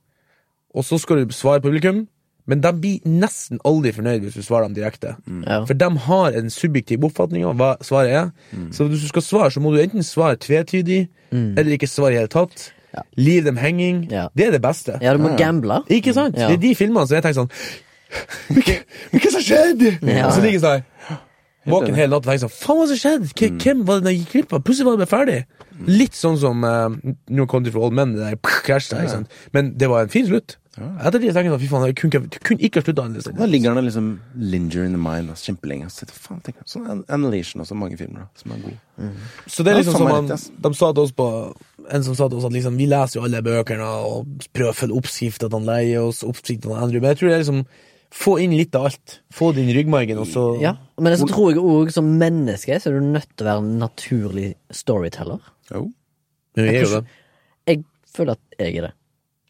C: og så skal du svare publikum, men de blir nesten aldri fornøyd hvis du svarer dem direkte.
B: Ja.
C: For de har en subjektiv oppfatning av hva svaret er. Så hvis du skal svare, så må du enten svare tvetydig, eller ikke svare i hele tatt. Leave them hanging.
B: Ja.
C: Det er det beste.
B: ja, du må gamble.
C: Ikke sant?
B: Ja.
C: Det er de filmene som jeg tenker sånn Men hva- men hva som skjedde?!
B: Ja.
C: Og så ligger jeg sånn Våken hele natta og tenker sånn Faen, hva som skjedde?! Hva- Hvem var det jeg gikk glipp av? Plutselig var det bare ferdig! Litt sånn som eh, New Country for Old Men, det der krasj der, ikke sant. Men det var en fin slutt. Ettertid tenker jeg sånn Fy faen, jeg kunne, ikke- jeg kunne ikke ha slutta
A: Da
C: annerledes.
A: ligger den og liksom linger in the mind altså, kjempelenge. Og så sitter jeg, faen, tenker jeg, sånn Annulation også, mange filmer da, som er gode.
C: Så det er
A: Ja, faen
C: liksom som
A: meg
C: han,
A: rett, ass.
C: de sa til oss på En som sa til oss at liksom, vi leser jo alle bøkene og prøver å følge oppskriftene han leier oss, oppskriftene han endrer Men jeg tror det er liksom Få inn litt av alt. Få din ryggmargen, og så
B: Ja. Men så tror jeg òg, som menneske, så er du nødt til å være en naturlig storyteller.
A: Jo,
C: Men vi er jo det.
B: Jeg føler at jeg er det.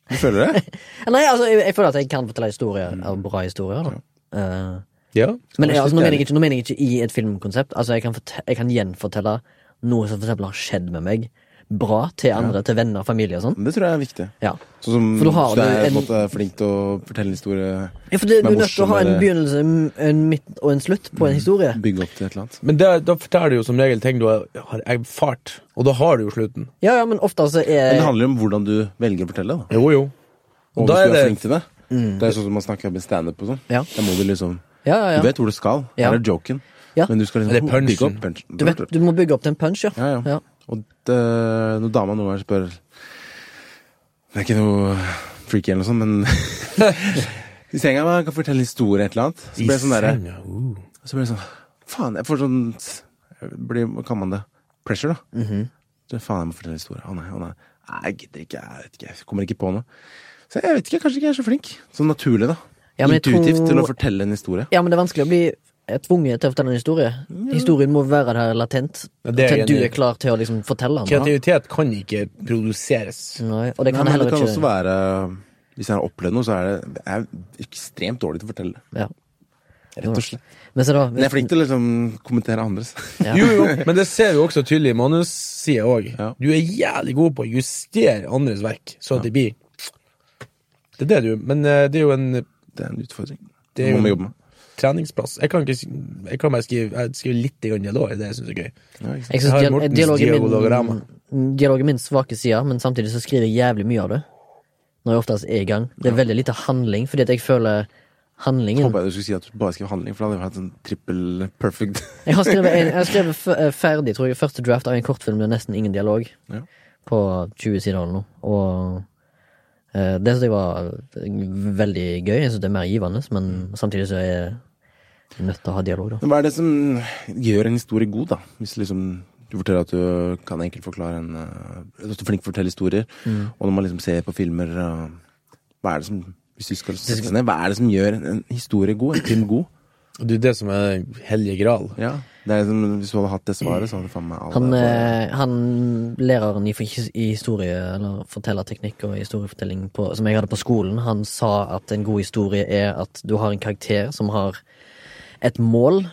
A: du føler det?
B: Nei, altså, jeg, jeg føler at jeg kan fortelle historier, eller bra historier, da. Eh,
C: Ja.
B: Men jeg, altså, nå,
A: Litt
B: mener jeg ikke, nå mener jeg ikke i et filmkonsept. Altså, jeg, kan forte- jeg kan gjenfortelle noe som for eksempel har skjedd med meg. Bra til andre, til venner, familie og sånn.
A: Det tror jeg er viktig.
B: Ja.
A: Sånn som
B: For du har
A: hvis du er
B: jo en-
A: på en måte, flink til å fortelle en historie,
B: ja, for det,
A: Men
B: du er nødt til å ha en
A: morsommere- Mm.
B: begynnelse, en- en midt og en slutt på en historie.
A: bygge opp til et eller annet.
C: Men det, da forteller du jo som regel ting du har har erfart, og da har du jo slutten.
B: Ja, ja, men ofte altså
A: Men
B: er
A: det handler jo om hvordan du velger å fortelle, da.
C: Jo, jo.
A: Og
C: Og da
A: hvis
C: er
A: du er,
C: det
A: flink til det. Det er sånn som man snakker med standup og sånn.
B: Mm. Ja.
A: Da må du liksom
B: Ja, ja, ja.
A: Du vet hvor du skal.
B: Ja.
A: Her er joken.
B: Ja.
A: Men du skal liksom
C: Eller punchen.
A: bygge opp punchen.
B: Du, vet, du må bygge opp til en punch, ja.
A: Ja, ja. Og det, når dama noen ganger spør Det er ikke noe freaky eller noe sånt, men I senga man kan fortelle en historie et eller annet. Så blir det sånn derre
C: senga, uh.
A: Så blir det sånn Faen, jeg får sånn jeg blir, Hva kan man det? Pressure, da.
B: Mhm.
A: Så faen, jeg må fortelle en historie. Å nei, å nei. Nei, Jeg gidder ikke, jeg vet ikke, jeg kommer ikke på noe. Så jeg vet ikke, kanskje ikke jeg er så flink. Sånn naturlig, da.
B: Ja, men jeg
A: Intuitivt
B: tror-
A: til å fortelle en historie.
B: Ja, men det er vanskelig å bli eh, tvunget til å fortelle en historie. Historien må være der latent,
C: Ja, det er
B: til
C: jeg
B: at du
C: enig i.
B: er klar til å liksom fortelle den. da.
C: Kreativitet kan ikke produseres.
B: Nei, og det
A: Nei,
B: kan
A: men det
B: heller
A: kan
B: ikke
A: også være Hvis jeg har opplevd noe, så er det jeg er ekstremt dårlig til å fortelle.
B: ja.
A: Rett og slett.
B: Men så da
A: Men jeg er flink til å liksom kommentere andres.
B: Ja.
C: Jo, jo, men det ser vi også tydelig i manussida òg.
A: Ja.
C: Du er jævlig god på å justere andres verk, så at det blir Det er det du Men eh, det er jo en
A: Det er en utfordring.
C: Det
A: Det
C: er jo-
A: må vi jobbe med.
C: treningsplass. Jeg kan, ikke, sk- jeg kan bare skrive Jeg skriver litt grann dialog, det syns jeg er gøy.
A: Ja, ikke sant?
B: Jeg
C: Jeg
B: synes
C: har
B: dia
C: Mortens
B: dialog, er
C: dialogorama.
B: min, dialog er min svake side, men samtidig så skriver jeg jævlig mye av det. Når jeg oftest er i gang. Det er veldig lite handling, fordi at jeg føler handlingen
A: Håper jeg du skulle si at du bare skrev handling, for da hadde vi hatt en trippel perfect
B: Jeg har skrevet, en, jeg har skrevet f eh, ferdig, tror jeg, første draft av en kortfilm med nesten ingen dialog.
A: Ja.
B: På 20 sider eller noe. Og eh, det syns jeg var eh, veldig gøy. Jeg syns det er mer givende, men samtidig så er jeg nødt til å ha dialog, da.
A: Men Hva er det som gjør en historie god, da? Hvis liksom Du forteller at du kan enkelt forklare en eh, At du er flink til å fortelle historier.
B: Mm.
A: Og når man liksom ser på filmer eh, Hva er det som Hvis du skal sette seg ned, hva er det som gjør en, en historie god? En film god?
C: Og det er det som er hellige gral.
A: Ja. Det er liksom, hvis du hadde hatt det svaret, så hadde faen meg alle
B: Han, eh, han læreren i, fis- i historie, eller fortellerteknikk og historiefortelling på, som jeg hadde på skolen, han sa at en god historie er at du har en karakter som har et mål,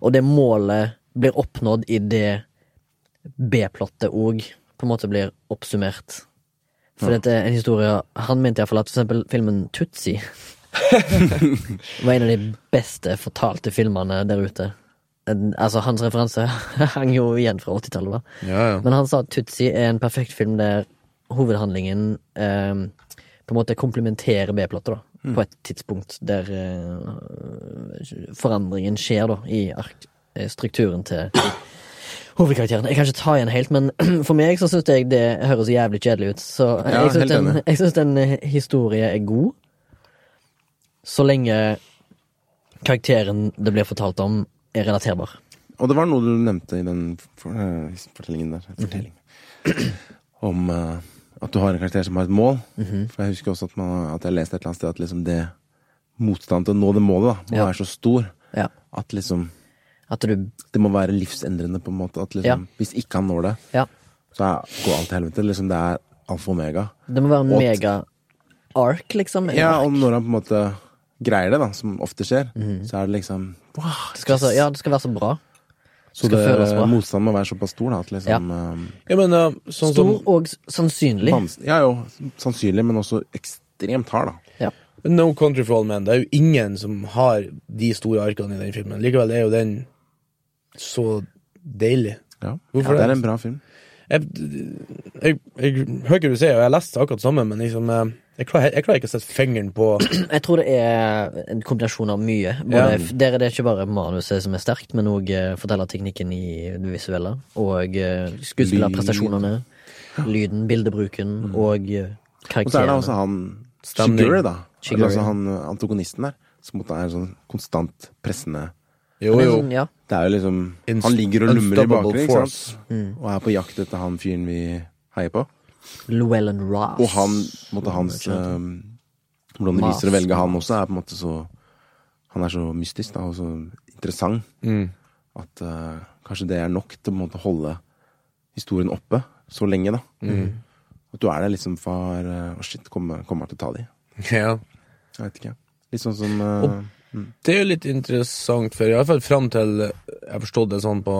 B: og det målet blir oppnådd i det B-plottet òg på en måte blir oppsummert. For dette er en historie Han mente iallfall at for eksempel filmen Tutsi var en av de beste fortalte filmene der ute. En, altså, hans referanse hang jo igjen fra 80-tallet, da.
C: Ja, ja.
B: Men han sa at Tutsi er en perfekt film der hovedhandlingen eh, på en måte komplementerer B-plottet, da.
A: Mm.
B: På et tidspunkt der eh, forandringen skjer, da, i ark eh, strukturen til hovedkarakteren. Jeg kan ikke ta igjen helt, men for meg så syns jeg det høres jævlig kjedelig ut. Så eh,
A: Ja,
B: jeg syns
A: helt
B: en,
A: enig.
B: jeg synes en historie er god, så lenge karakteren det blir fortalt om, er relaterbar.
A: Og det var noe du nevnte i den for, eh, fortellingen der.
B: Mhm.
A: Fortelling. Om eh, at du har en karakter som har et mål.
B: Mhm.
A: For jeg husker også at, man, at jeg leste et eller annet sted at liksom det motstanden til å nå det målet da, må
B: Ja.
A: være så stor
B: Ja.
A: at liksom
B: At du
A: det må være livsendrende, på en måte. At liksom,
B: Ja.
A: Hvis ikke han når det,
B: Ja.
A: så er, går alt til helvete. Liksom, det er alfa og omega.
B: Det må være en
A: Og-
B: mega-ark, liksom. En
A: Ja,
B: ark.
A: og når han på en måte greier det, da, som ofte skjer, så er det liksom wow,
B: Det skal, være så- ja, det skal være så bra.
A: Så
B: skal føles bra.
A: det, motstanden må være såpass stor da, at liksom eh,
C: Ja, men eh, sånn
B: Stor
C: som
B: og s- sannsynlig.
A: Vans- Ja jo, sannsynlig, men også ekstremt hard, da.
B: Ja.
C: No Country for All Men. Det er jo ingen som har de store arkene i den filmen. Likevel er jo den så deilig.
A: Ja.
C: Hvorfor
A: det
C: det?
A: er en bra film.
C: Jeg, jeg, jeg hører ikke hva du sier, og jeg leste akkurat det samme, men liksom eh, jeg klarer, jeg klarer ikke å sette fingeren på
B: Jeg tror det er en kombinasjon av mye.
C: Ja.
B: Både, f- Der er det ikke bare manuset som er sterkt, men òg eh, fortellerteknikken i det visuelle. Og eh, skuespillerprestasjonene. Lyden, bildebruken og eh,
A: Mm. Og så er det også
B: karakterene.
A: han
C: Stemning.
A: Shigure, da.
B: Shigure.
A: Eller altså han eh, antagonisten der. Som måtte er sånn konstant pressende
C: Jo,
B: Men
C: jo.
B: sånn, ja.
A: Det er jo liksom
C: Inst-
A: Han ligger og lumrer i
C: unstoppable
A: bakgrunnen, ikke
C: force.
A: sant. Mm. Og er på jakt etter han fyren vi heier på.
B: Llewellyn Ross.
A: Og han, på en måte hans eh, Hvordan de viser å velge han også, er på en måte så Han er så mystisk, da, og så interessant at eh, kanskje det er nok til å på en måte holde historien oppe så lenge, da. At du er der liksom for eh, Å, shit, kommer kommer han til å ta de?
C: Ja.
A: Jeg vet ikke. Litt sånn som eh,
C: Det er jo litt interessant, for i hvert fall fram til jeg forstod det sånn på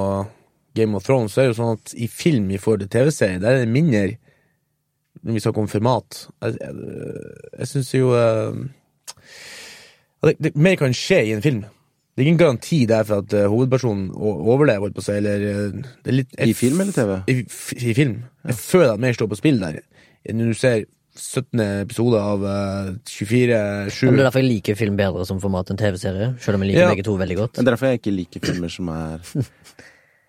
C: Game of Thrones, så er det jo sånn at i film i forhold til TV-serie, der er det mindre når vi snakker om format. Jeg, jeg, jeg syns jo eh, at det, det, Mer kan skje i en film. Det er ingen garanti der for at eh, hovedpersonen o- overlever, holdt på å si, eller eh, det er litt,
A: I film eller TV?
C: I, f- i film. Jeg føler at mer står på spill der. Når du ser 17. episode av eh, 24-7
B: Men Det er derfor jeg liker film bedre som format enn TV-serie. Selv om jeg liker
C: Ja.
B: begge to veldig godt.
A: Det er derfor jeg ikke liker filmer som er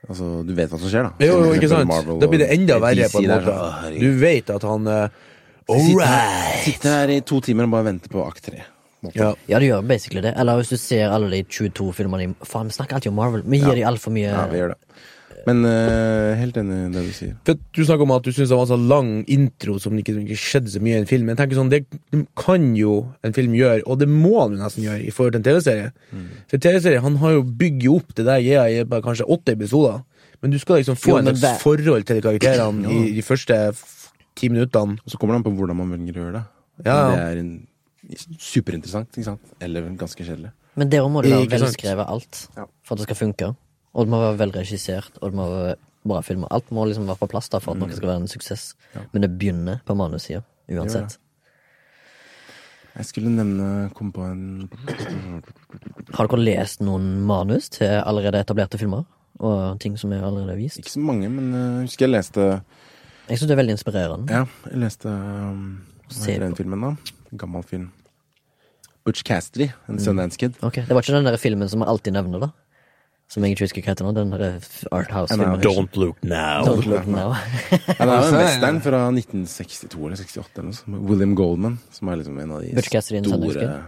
A: Altså, du vet hva som skjer, da.
C: Jo,
A: Som
C: jo,
A: for
C: ikke
A: eksempel
C: sant?
A: Marvel
C: Da blir det
A: og
C: enda verre,
A: DC
C: på en
A: der,
C: måte.
A: sånn, «Å, herregud».
C: Du vet at han uh, All
A: Sitter
C: right!
A: her, sitter her i to timer og bare venter på akt tre. på en måte.
C: Ja.
B: Ja, det gjør basically det. Eller hvis du ser alle de 22 filmene i Faen, vi snakker alltid om Marvel. Vi gir de altfor mye
A: Ja, vi gjør det. Men eh, helt enig i det du sier.
C: For Du snakker om at du syns det var en så lang intro som ikke, ikke skjedde så mye i en film. Men jeg tenker sånn, Det kan jo en film gjøre, og det må han jo nesten gjøre i forhold til en TV-serie.
A: Mm.
C: For TV-serie, Han har jo bygget opp det der greia i bare kanskje åtte episoder. Men du skal liksom
B: Jo,
C: få en
B: men
C: slags
B: det-
C: forhold til karakterene i de første f- ti minuttene.
A: Og så kommer det an på hvordan man velger å gjøre det.
C: Ja,
A: Om
C: ja.
A: Det er en, superinteressant, ikke sant? Eller ganske kjedelig.
B: Men der må det være
C: Ikke sant.
B: velskrevet alt
A: Ja.
B: for at det skal funke. Og det må være velregissert, og det må være bra filmer. Alt må liksom være på plass da for at noe skal være en suksess. Men det begynner på manussida uansett.
A: Jeg skulle nevne Kom på en
B: Har dere lest noen manus til allerede etablerte filmer? Og ting som er allerede vist?
A: Ikke så mange, men eh, jeg husker jeg leste
B: Jeg syns det er veldig inspirerende.
A: Ja, jeg leste um, Hva
B: Se
A: heter den
B: på.
A: filmen, da? En Gammel film. Butch Cassidy, en Sundance Kid.
B: Ok, Det var ikke den der filmen som jeg alltid nevner, da? Som jeg ikke husker hva heter nå. Den der Art
A: Nei,
B: House-filmen.
A: nei.
C: look now.
B: Don't look now.
A: Ja, det er jo en western fra 1962 eller 68 eller noe sånt. med William Goldman, som er liksom en av de
B: Butch Cassidy and Sundance
A: store
B: Mm.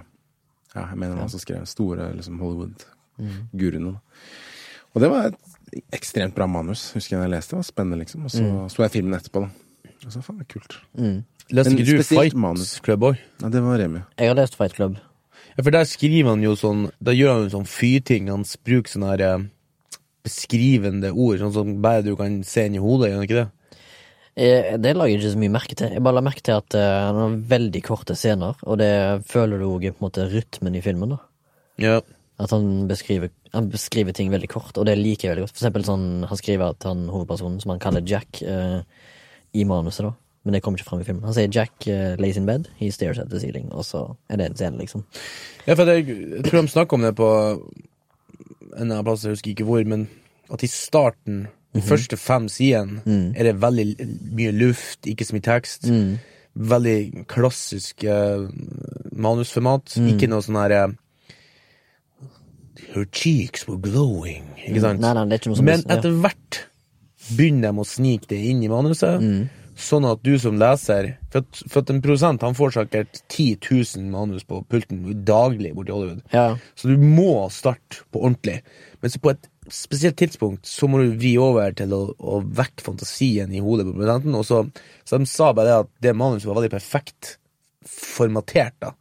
A: Ja, jeg mener han også skrev store liksom, Hollywood-guruene. da. Og det var et ekstremt bra manus, husker jeg da jeg leste det. var Spennende, liksom. Og så
B: Mm.
A: så jeg filmen etterpå, da. Og så faen, det er kult.
C: Leste
A: Men
C: ikke du
A: spesielt
C: Fight
A: manus.
C: Club òg?
A: Nei, det var Remi.
B: Jeg har lest Fight Club.
C: Ja, for der skriver han jo sånn Da gjør han jo sånn fyrting. Han s- bruker sånne her eh, beskrivende ord, sånn som bare du kan se inn i hodet, gjør han ikke det?
B: Eh, Det la jeg ikke så mye merke til. Jeg bare la merke til at eh, han har veldig korte scener, og det føler du òg i på en måte rytmen i filmen. da.
C: Ja.
B: At han beskriver, han beskriver ting veldig kort, og det liker jeg veldig godt. For eksempel sånn, han skriver at han hovedpersonen, som han kaller Jack, eh, i manuset, da. Men det kommer ikke fram i filmen. Han sier Jack eh, lays in bed, he stares at the ceiling, og så er det en scene, liksom.
C: Ja, for jeg, jeg tror de snakka om det på en annen plass, jeg husker ikke hvor, men at i starten, de
B: Mhm.
C: første fem sidene,
B: Mm.
C: er det veldig l- mye luft, ikke så mye tekst. Veldig klassisk eh, manusformat.
B: Mm.
C: Ikke noe sånn her eh, Her cheeks were glowing. Ikke sant?
B: Nei, nei, det er ikke noe som
C: Men
B: ja.
C: etter hvert begynner de å snike det inn i manuset, sånn at du som leser For at, for at en produsent han får sikkert 10 000 manus på pulten daglig borti Hollywood.
B: ja.
C: Så du må starte på ordentlig. Men så på et spesielt tidspunkt så må du vri over til å, å vekke fantasien i hodet på produsenten. Og så, så de sa bare det at det manuset var veldig perfekt formatert. da.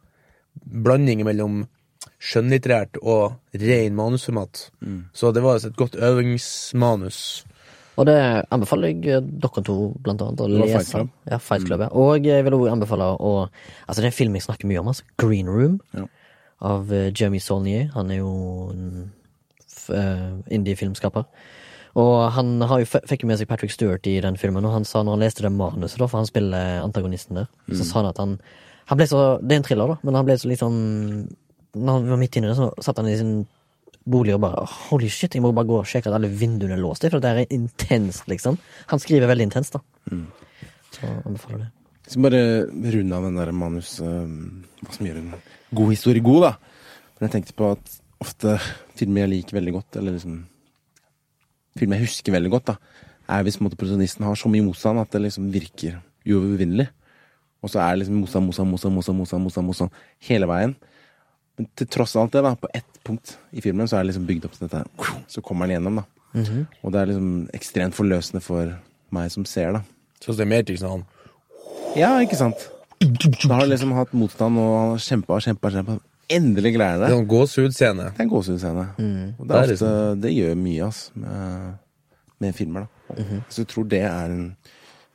C: Blanding mellom skjønnlitterært og ren manusformat. Så det var altså et godt øvingsmanus.
B: Og det anbefaler jeg eh, dere to, blant annet, å
A: Det var
B: lese.
A: Fight Club.
B: Ja, Fight Club, ja. Og jeg vil også anbefale å Altså, det er en film jeg snakker mye om, altså. Green Room.
A: Ja.
B: Av eh, Jeremy Saulnier. Han er jo en f- eh, indie-filmskaper. Og han har jo, f- fikk jo med seg Patrick Stewart i den filmen, og han sa når han leste det manuset, da, for han spiller antagonisten der, så sa han at han Han ble så Det er en thriller, da, men han ble så litt sånn Når han var midt inni det, så satt han i sin bolig og bare Holy shit, jeg må bare gå og sjekke at alle vinduene er låst, for det er intenst, liksom. Han skriver veldig intenst, da. Så anbefaler det.
A: Jeg skal bare runde av den der manus eh, Hva som gjør en god historie god, da. Men jeg tenkte på at ofte filmer jeg liker veldig godt, eller liksom Filmer jeg husker veldig godt, da, er hvis på en måte, protagonisten har så mye motstand at det liksom virker uovervinnelig. Og så er det liksom motstand, motstand, motstand, motstand, motstand, motstand, motstand hele veien. Men til tross alt det, da, på ett punkt i filmen, så er det liksom bygd opp til dette. her. Så kommer den gjennom, da. Og det er liksom ekstremt forløsende for meg som ser, da.
C: Sånn som det er mer til sånn han.
A: Ja, ikke sant? Da har han liksom hatt motstand og han har kjempa og kjempa. kjempa. Endelig greier
C: Det er
A: det.
C: sånn gåsehudscene.
A: Det er en gåsehudscene. Og Mm. det,
C: Det
A: er liksom-
C: er
A: ofte, det gjør mye ass, med, med filmer. da. Så jeg tror det er en,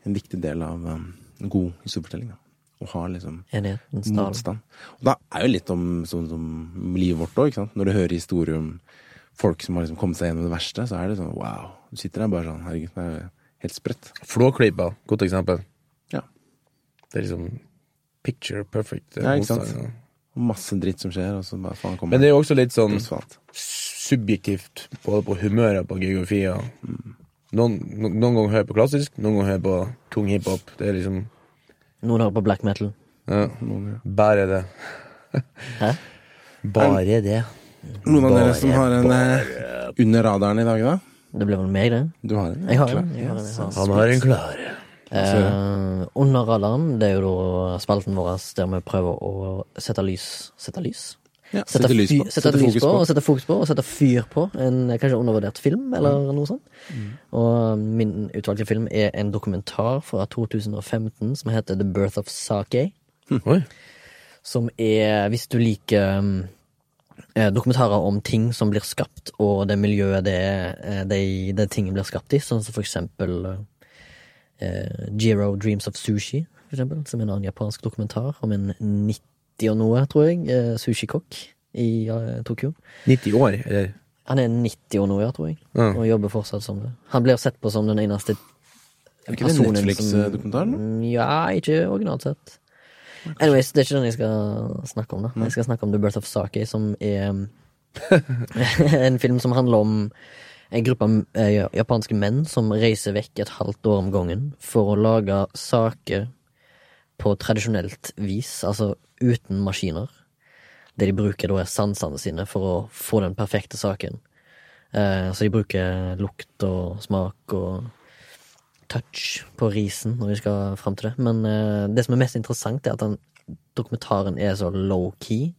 A: en viktig del av um, en god historiefortelling. da. Å ha liksom
B: Enighetens tale.
A: motstand. Og da er jo litt om sånn som livet vårt òg, ikke sant. Når du hører historier om folk som har liksom kommet seg gjennom det verste, så er det sånn wow. Du sitter der bare sånn herregud, det er helt sprøtt.
C: Flåklypa, godt eksempel.
A: Ja.
C: Det er liksom picture perfect. eh,
A: Ja, ikke sant?
C: motstand, ja.
A: Og masse dritt som skjer, og så bare faen kommer
C: Men det er jo også litt sånn
A: asfalt.
C: subjektivt både på humøret og på geografi. og Noen, no- noen ganger hører jeg på klassisk, noen ganger hører jeg på tung hiphop. Det er liksom
B: Noen hører på black metal.
C: ja, Bare det.
B: Hæ?
C: Bare det.
A: Noen av dere
C: Bare,
A: som har en eh, under radaren i dag, da?
B: Det ble vel meg, det.
A: Du har en?
B: Jeg har
A: Klar.
B: en. Jeg har en, jeg har en.
C: Han har en klar
B: Eh, under radaren, det er jo da spalten vår der vi prøver å sette lys Sette lys?
A: Ja,
B: Sette,
A: sette lys
B: fy-
A: på.
B: Sette, lys på, og sette fokus på, og sette fyr på en eh, kanskje undervurdert film, eller noe sånt. Og um, min utvalgte film er en dokumentar fra 2015 som heter The Birth of Sake.
C: Oi.
B: Som er, hvis du liker um, eh, dokumentarer om ting som blir skapt, og det miljøet det, eh, de, det ting blir skapt i, sånn som for eksempel eh, Jiro Dreams of Sushi, for eksempel, som er en annen japansk dokumentar om en 90 og noe, tror jeg, eh, sushikokk i eh, Tokyo.
C: 90 år, eller?
B: Han er 90 og noe, ja, tror jeg,
C: Ja.
B: og jobber fortsatt som det. Han blir sett på som den eneste
A: Er ikke det
B: personen som-
A: Netflix-dokumentaren? da?
B: ja, ikke originalt sett. Anyways, det er ikke den jeg skal snakke om, da. Jeg skal snakke om The Birth of Sake, som er um, en film som handler om en gruppe eh, japanske menn som reiser vekk et halvt år om gangen for å lage saker på tradisjonelt vis, altså uten maskiner. Det de bruker da, er sansene sine for å få den perfekte saken. Eh, så de bruker lukt og smak og touch på risen når vi skal fram til det. Men eh, det som er mest interessant, er at den dokumentaren er så low-key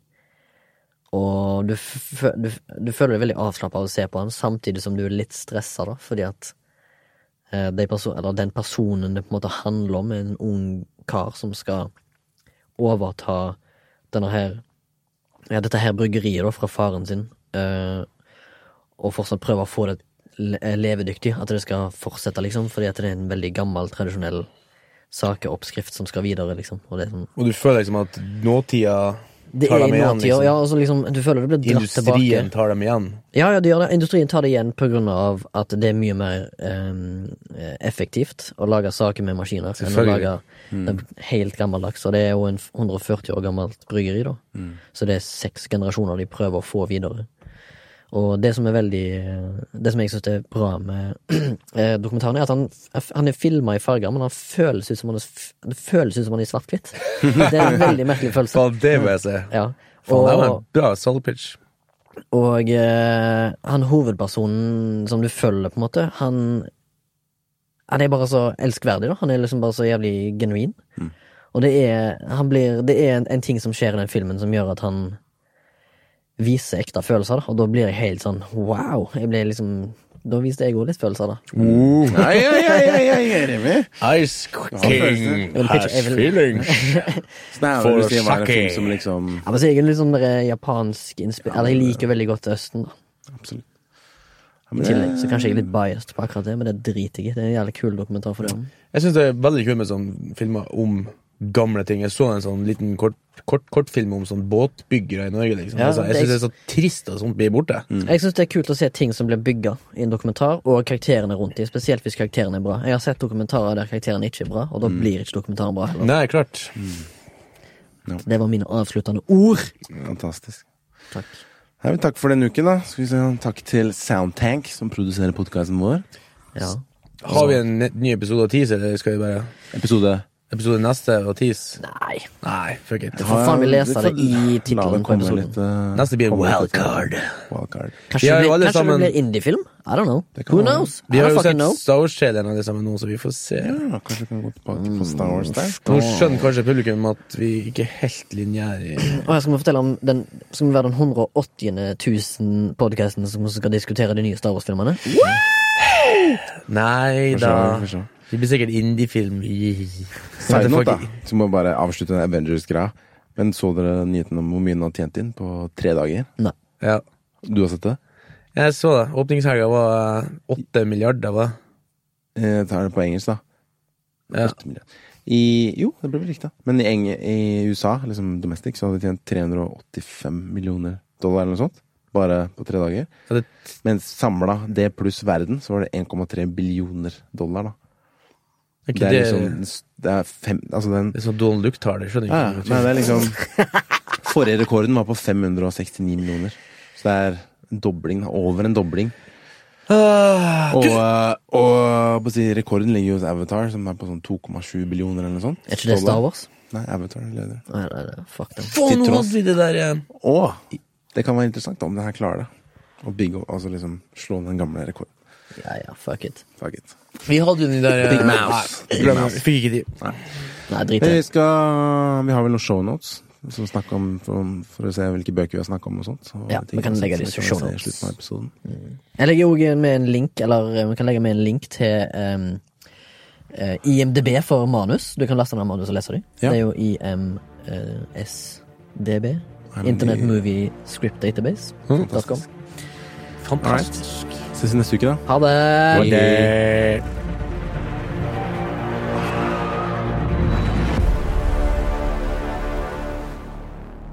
B: Og du, fø- du, du føler deg veldig avslappa av å se på han, samtidig som du er litt stressa, da, fordi at eh, de perso eller den personen det på en måte handler om, er en ung kar som skal overta denne her ja, dette her bryggeriet da, fra faren sin, eh, og fortsatt prøve å få det le- eh, levedyktig, at det skal fortsette, liksom, fordi at det er en veldig gammel, tradisjonell sakeoppskrift som skal videre, liksom, og det er sånn
C: Og du føler liksom at nåtida
B: det
C: tar
B: er
C: dem igjen?
B: nåtida,
C: Liksom.
B: ja, altså liksom, du føler det blir dratt tilbake.
C: Industrien tar dem igjen?
B: Ja, ja, det gjør det. Industrien tar det igjen på grunn av at det er mye mer eh, effektivt å lage saker med maskiner enn å lage
C: Selvfølgelig. Mm.
B: det helt gammeldags. Og det er jo en 140 år gammelt bryggeri, da.
C: Mm.
B: Så det er seks generasjoner de prøver å få videre. Og det som er veldig eh, Det som jeg syns er bra med eh, dokumentaren, er at han, han er filma i farger, men han føles ut som han er, f- det føles ut som han er i svart-hvitt. Det er en veldig merkelig følelse.
C: Faen, det må jeg si.
B: Ja.
C: Faen, det var en bra solid pitch.
B: Og eh, han hovedpersonen som du følger, på en måte, han Han er bare så elskverdig, da. Han er liksom bare så jævlig genuin. Og det er, han blir, det er en, en ting som skjer i den filmen som gjør at han viser ekte følelser, da. Og da blir jeg helt sånn wow. Jeg ble liksom Da viste jeg òg litt følelser, da.
A: Nei, ja, ja, ja, ja, jeg er enig.
C: Ice King
B: vil pitche- jeg
C: has
B: vil-
C: feelings.
A: Så det Sånn er
C: For
A: jo det du sier, hva er en
C: sake.
A: film som liksom
B: Ja, men så er jeg en litt sånn der, eh, japansk innspill Eller jeg liker veldig godt Østen, da.
A: Absolutt.
B: I tillegg. Så kanskje jeg er litt biased på akkurat det, men det driter jeg i. Det er en jævlig kul dokumentar for det.
C: Jeg syns det er veldig kult med sånne filmer om gamle ting. Jeg så en sånn liten kort, kort, kortfilm om sånn båtbyggere i Norge. Liksom.
B: Ja,
C: altså, jeg
B: det- Mm.
C: syns det er så trist at sånt blir borte.
B: Jeg syns det er kult å se ting som blir bygga i en dokumentar, og karakterene rundt dem, spesielt hvis karakterene er bra. Jeg har sett dokumentarer der karakterene ikke er bra, og da
C: Mm.
B: blir ikke dokumentaren bra heller.
C: Nei, klart.
B: Mm. Det var mine avsluttende ord.
A: Fantastisk.
B: Takk.
A: Nei, men takk for denne uken, da. Skal vi si Takk til Soundtank, som produserer podkasten vår.
B: Ja.
C: Har vi en ne- ny episode av Tease, eller skal vi bare
A: Episode
C: Episode neste av Tease?
B: Nei.
C: Nei, fuck it.
B: får faen vi lese
A: Vi får
B: det i tittelen
A: la det
B: på
A: komme
B: episoden.
A: litt, eh,
C: Neste blir
A: komme litt
C: Wildcard.
A: etter. Wildcard.
B: Kanskje,
C: Vi har
B: det,
C: jo
B: blir,
C: alle
B: kanskje
C: sammen-
B: det blir indiefilm? I don't know.
A: Det kan
B: Who
A: være.
B: knows?
C: Vi
B: I
C: har
B: don't
C: jo
B: fucking
C: sett
B: know.
C: Star Wars-traileren alle sammen nå, så vi får se.
A: Ja, kanskje vi kan gå tilbake på Star Wars der.
C: Nå skjønner kanskje publikum at vi ikke er helt lineære i
B: Og jeg skal vi fortelle om den Skal vi være den 180. 000 podkasten som skal diskutere de nye Star Wars-filmene?
C: Nei
A: Får se,
C: da.
A: får se.
C: Det blir sikkert indie-film.
A: Side note, da.
C: Motherfucker.
A: Så må jeg bare avslutte den Avengers-greia. Men så dere nyheten om hvor mye den har tjent inn på tre dager?
B: Nei.
C: Ja.
A: Du har sett det?
C: Jeg så det. Åpningshelga var eh, åtte milliarder, var det?
A: Jeg tar det på engelsk, da.
C: Ja.
A: Åtte milliarder. I, jo, det ble vel riktig. da. Men i, Eng i USA, liksom domestic, så hadde de tjent 385 millioner dollar eller noe sånt. Bare på tre dager.
C: Ja, det-
A: Men samla det pluss verden, så var det 1,3 billioner dollar, da.
C: Er
A: Det
C: ikke
A: er
C: det,
A: liksom Det er fem Altså den
C: det er sånn Donald Duck-tall, jeg skjønner
A: ja, ja.
C: ikke.
A: Nei, det er liksom Forrige rekorden var på 569 millioner. Så det er en dobling. da. Over en dobling.
C: Ah,
A: Og, eh, og på å si, rekorden ligger jo hos Avatar, som er på sånn 2,7 billioner eller noe sånt.
B: Er ikke det Star Wars?
A: Nei, Avatar leder.
B: Nei, nei, nei, fuck den.
C: faen, nå
A: Til tross-
C: hadde vi det der eh, igjen!
A: Og det kan være interessant om det her klarer det. Å bygge, altså liksom slå den gamle rekorden.
B: Ja, ja, fuck it.
A: Fuck it.
C: Vi hadde den der eh,
A: Big Mouse.
C: nei, glem det. Vi Fikk ikke de.
B: Nei, drit i det.
A: Vi, skal, vi har vel noen shownotes som snakker om for, for å se hvilke bøker vi har snakket om og sånt. Og
B: Ja,
A: ting
B: vi kan
A: og sånt
B: legge
A: som
B: de
A: vi kan se i
B: shownotes.
A: slutten av episoden.
B: Jeg legger òg med en link, eller eh, man kan legge med en link til em, eh, IMDb for manus. Du kan laste ned manus og lese dem.
A: Ja.
B: Det er jo IMSDB.
A: men
B: Internet
A: vi-
B: Movie Script Database. .com.
C: Fantastisk.
A: Ses neste uke, da.
B: Ha det!
C: Eh,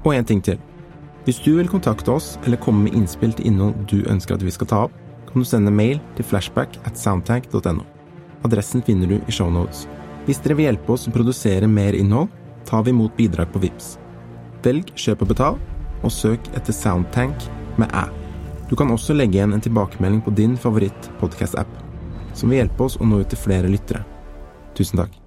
A: Og en ting til. Hvis du vil kontakte oss eller komme med innspill til innhold du ønsker at vi skal ta opp, kan du sende mail til flashback at soundtank.no. Adressen finner du i shownotes. Hvis dere vil hjelpe oss å produsere mer innhold, tar vi imot bidrag på VIPS. Velg kjøp og betal, og søk etter Soundtank med æ. Du kan også legge igjen en tilbakemelding på din favoritt podcast-app, som vil hjelpe oss å nå ut til flere lyttere. Tusen takk.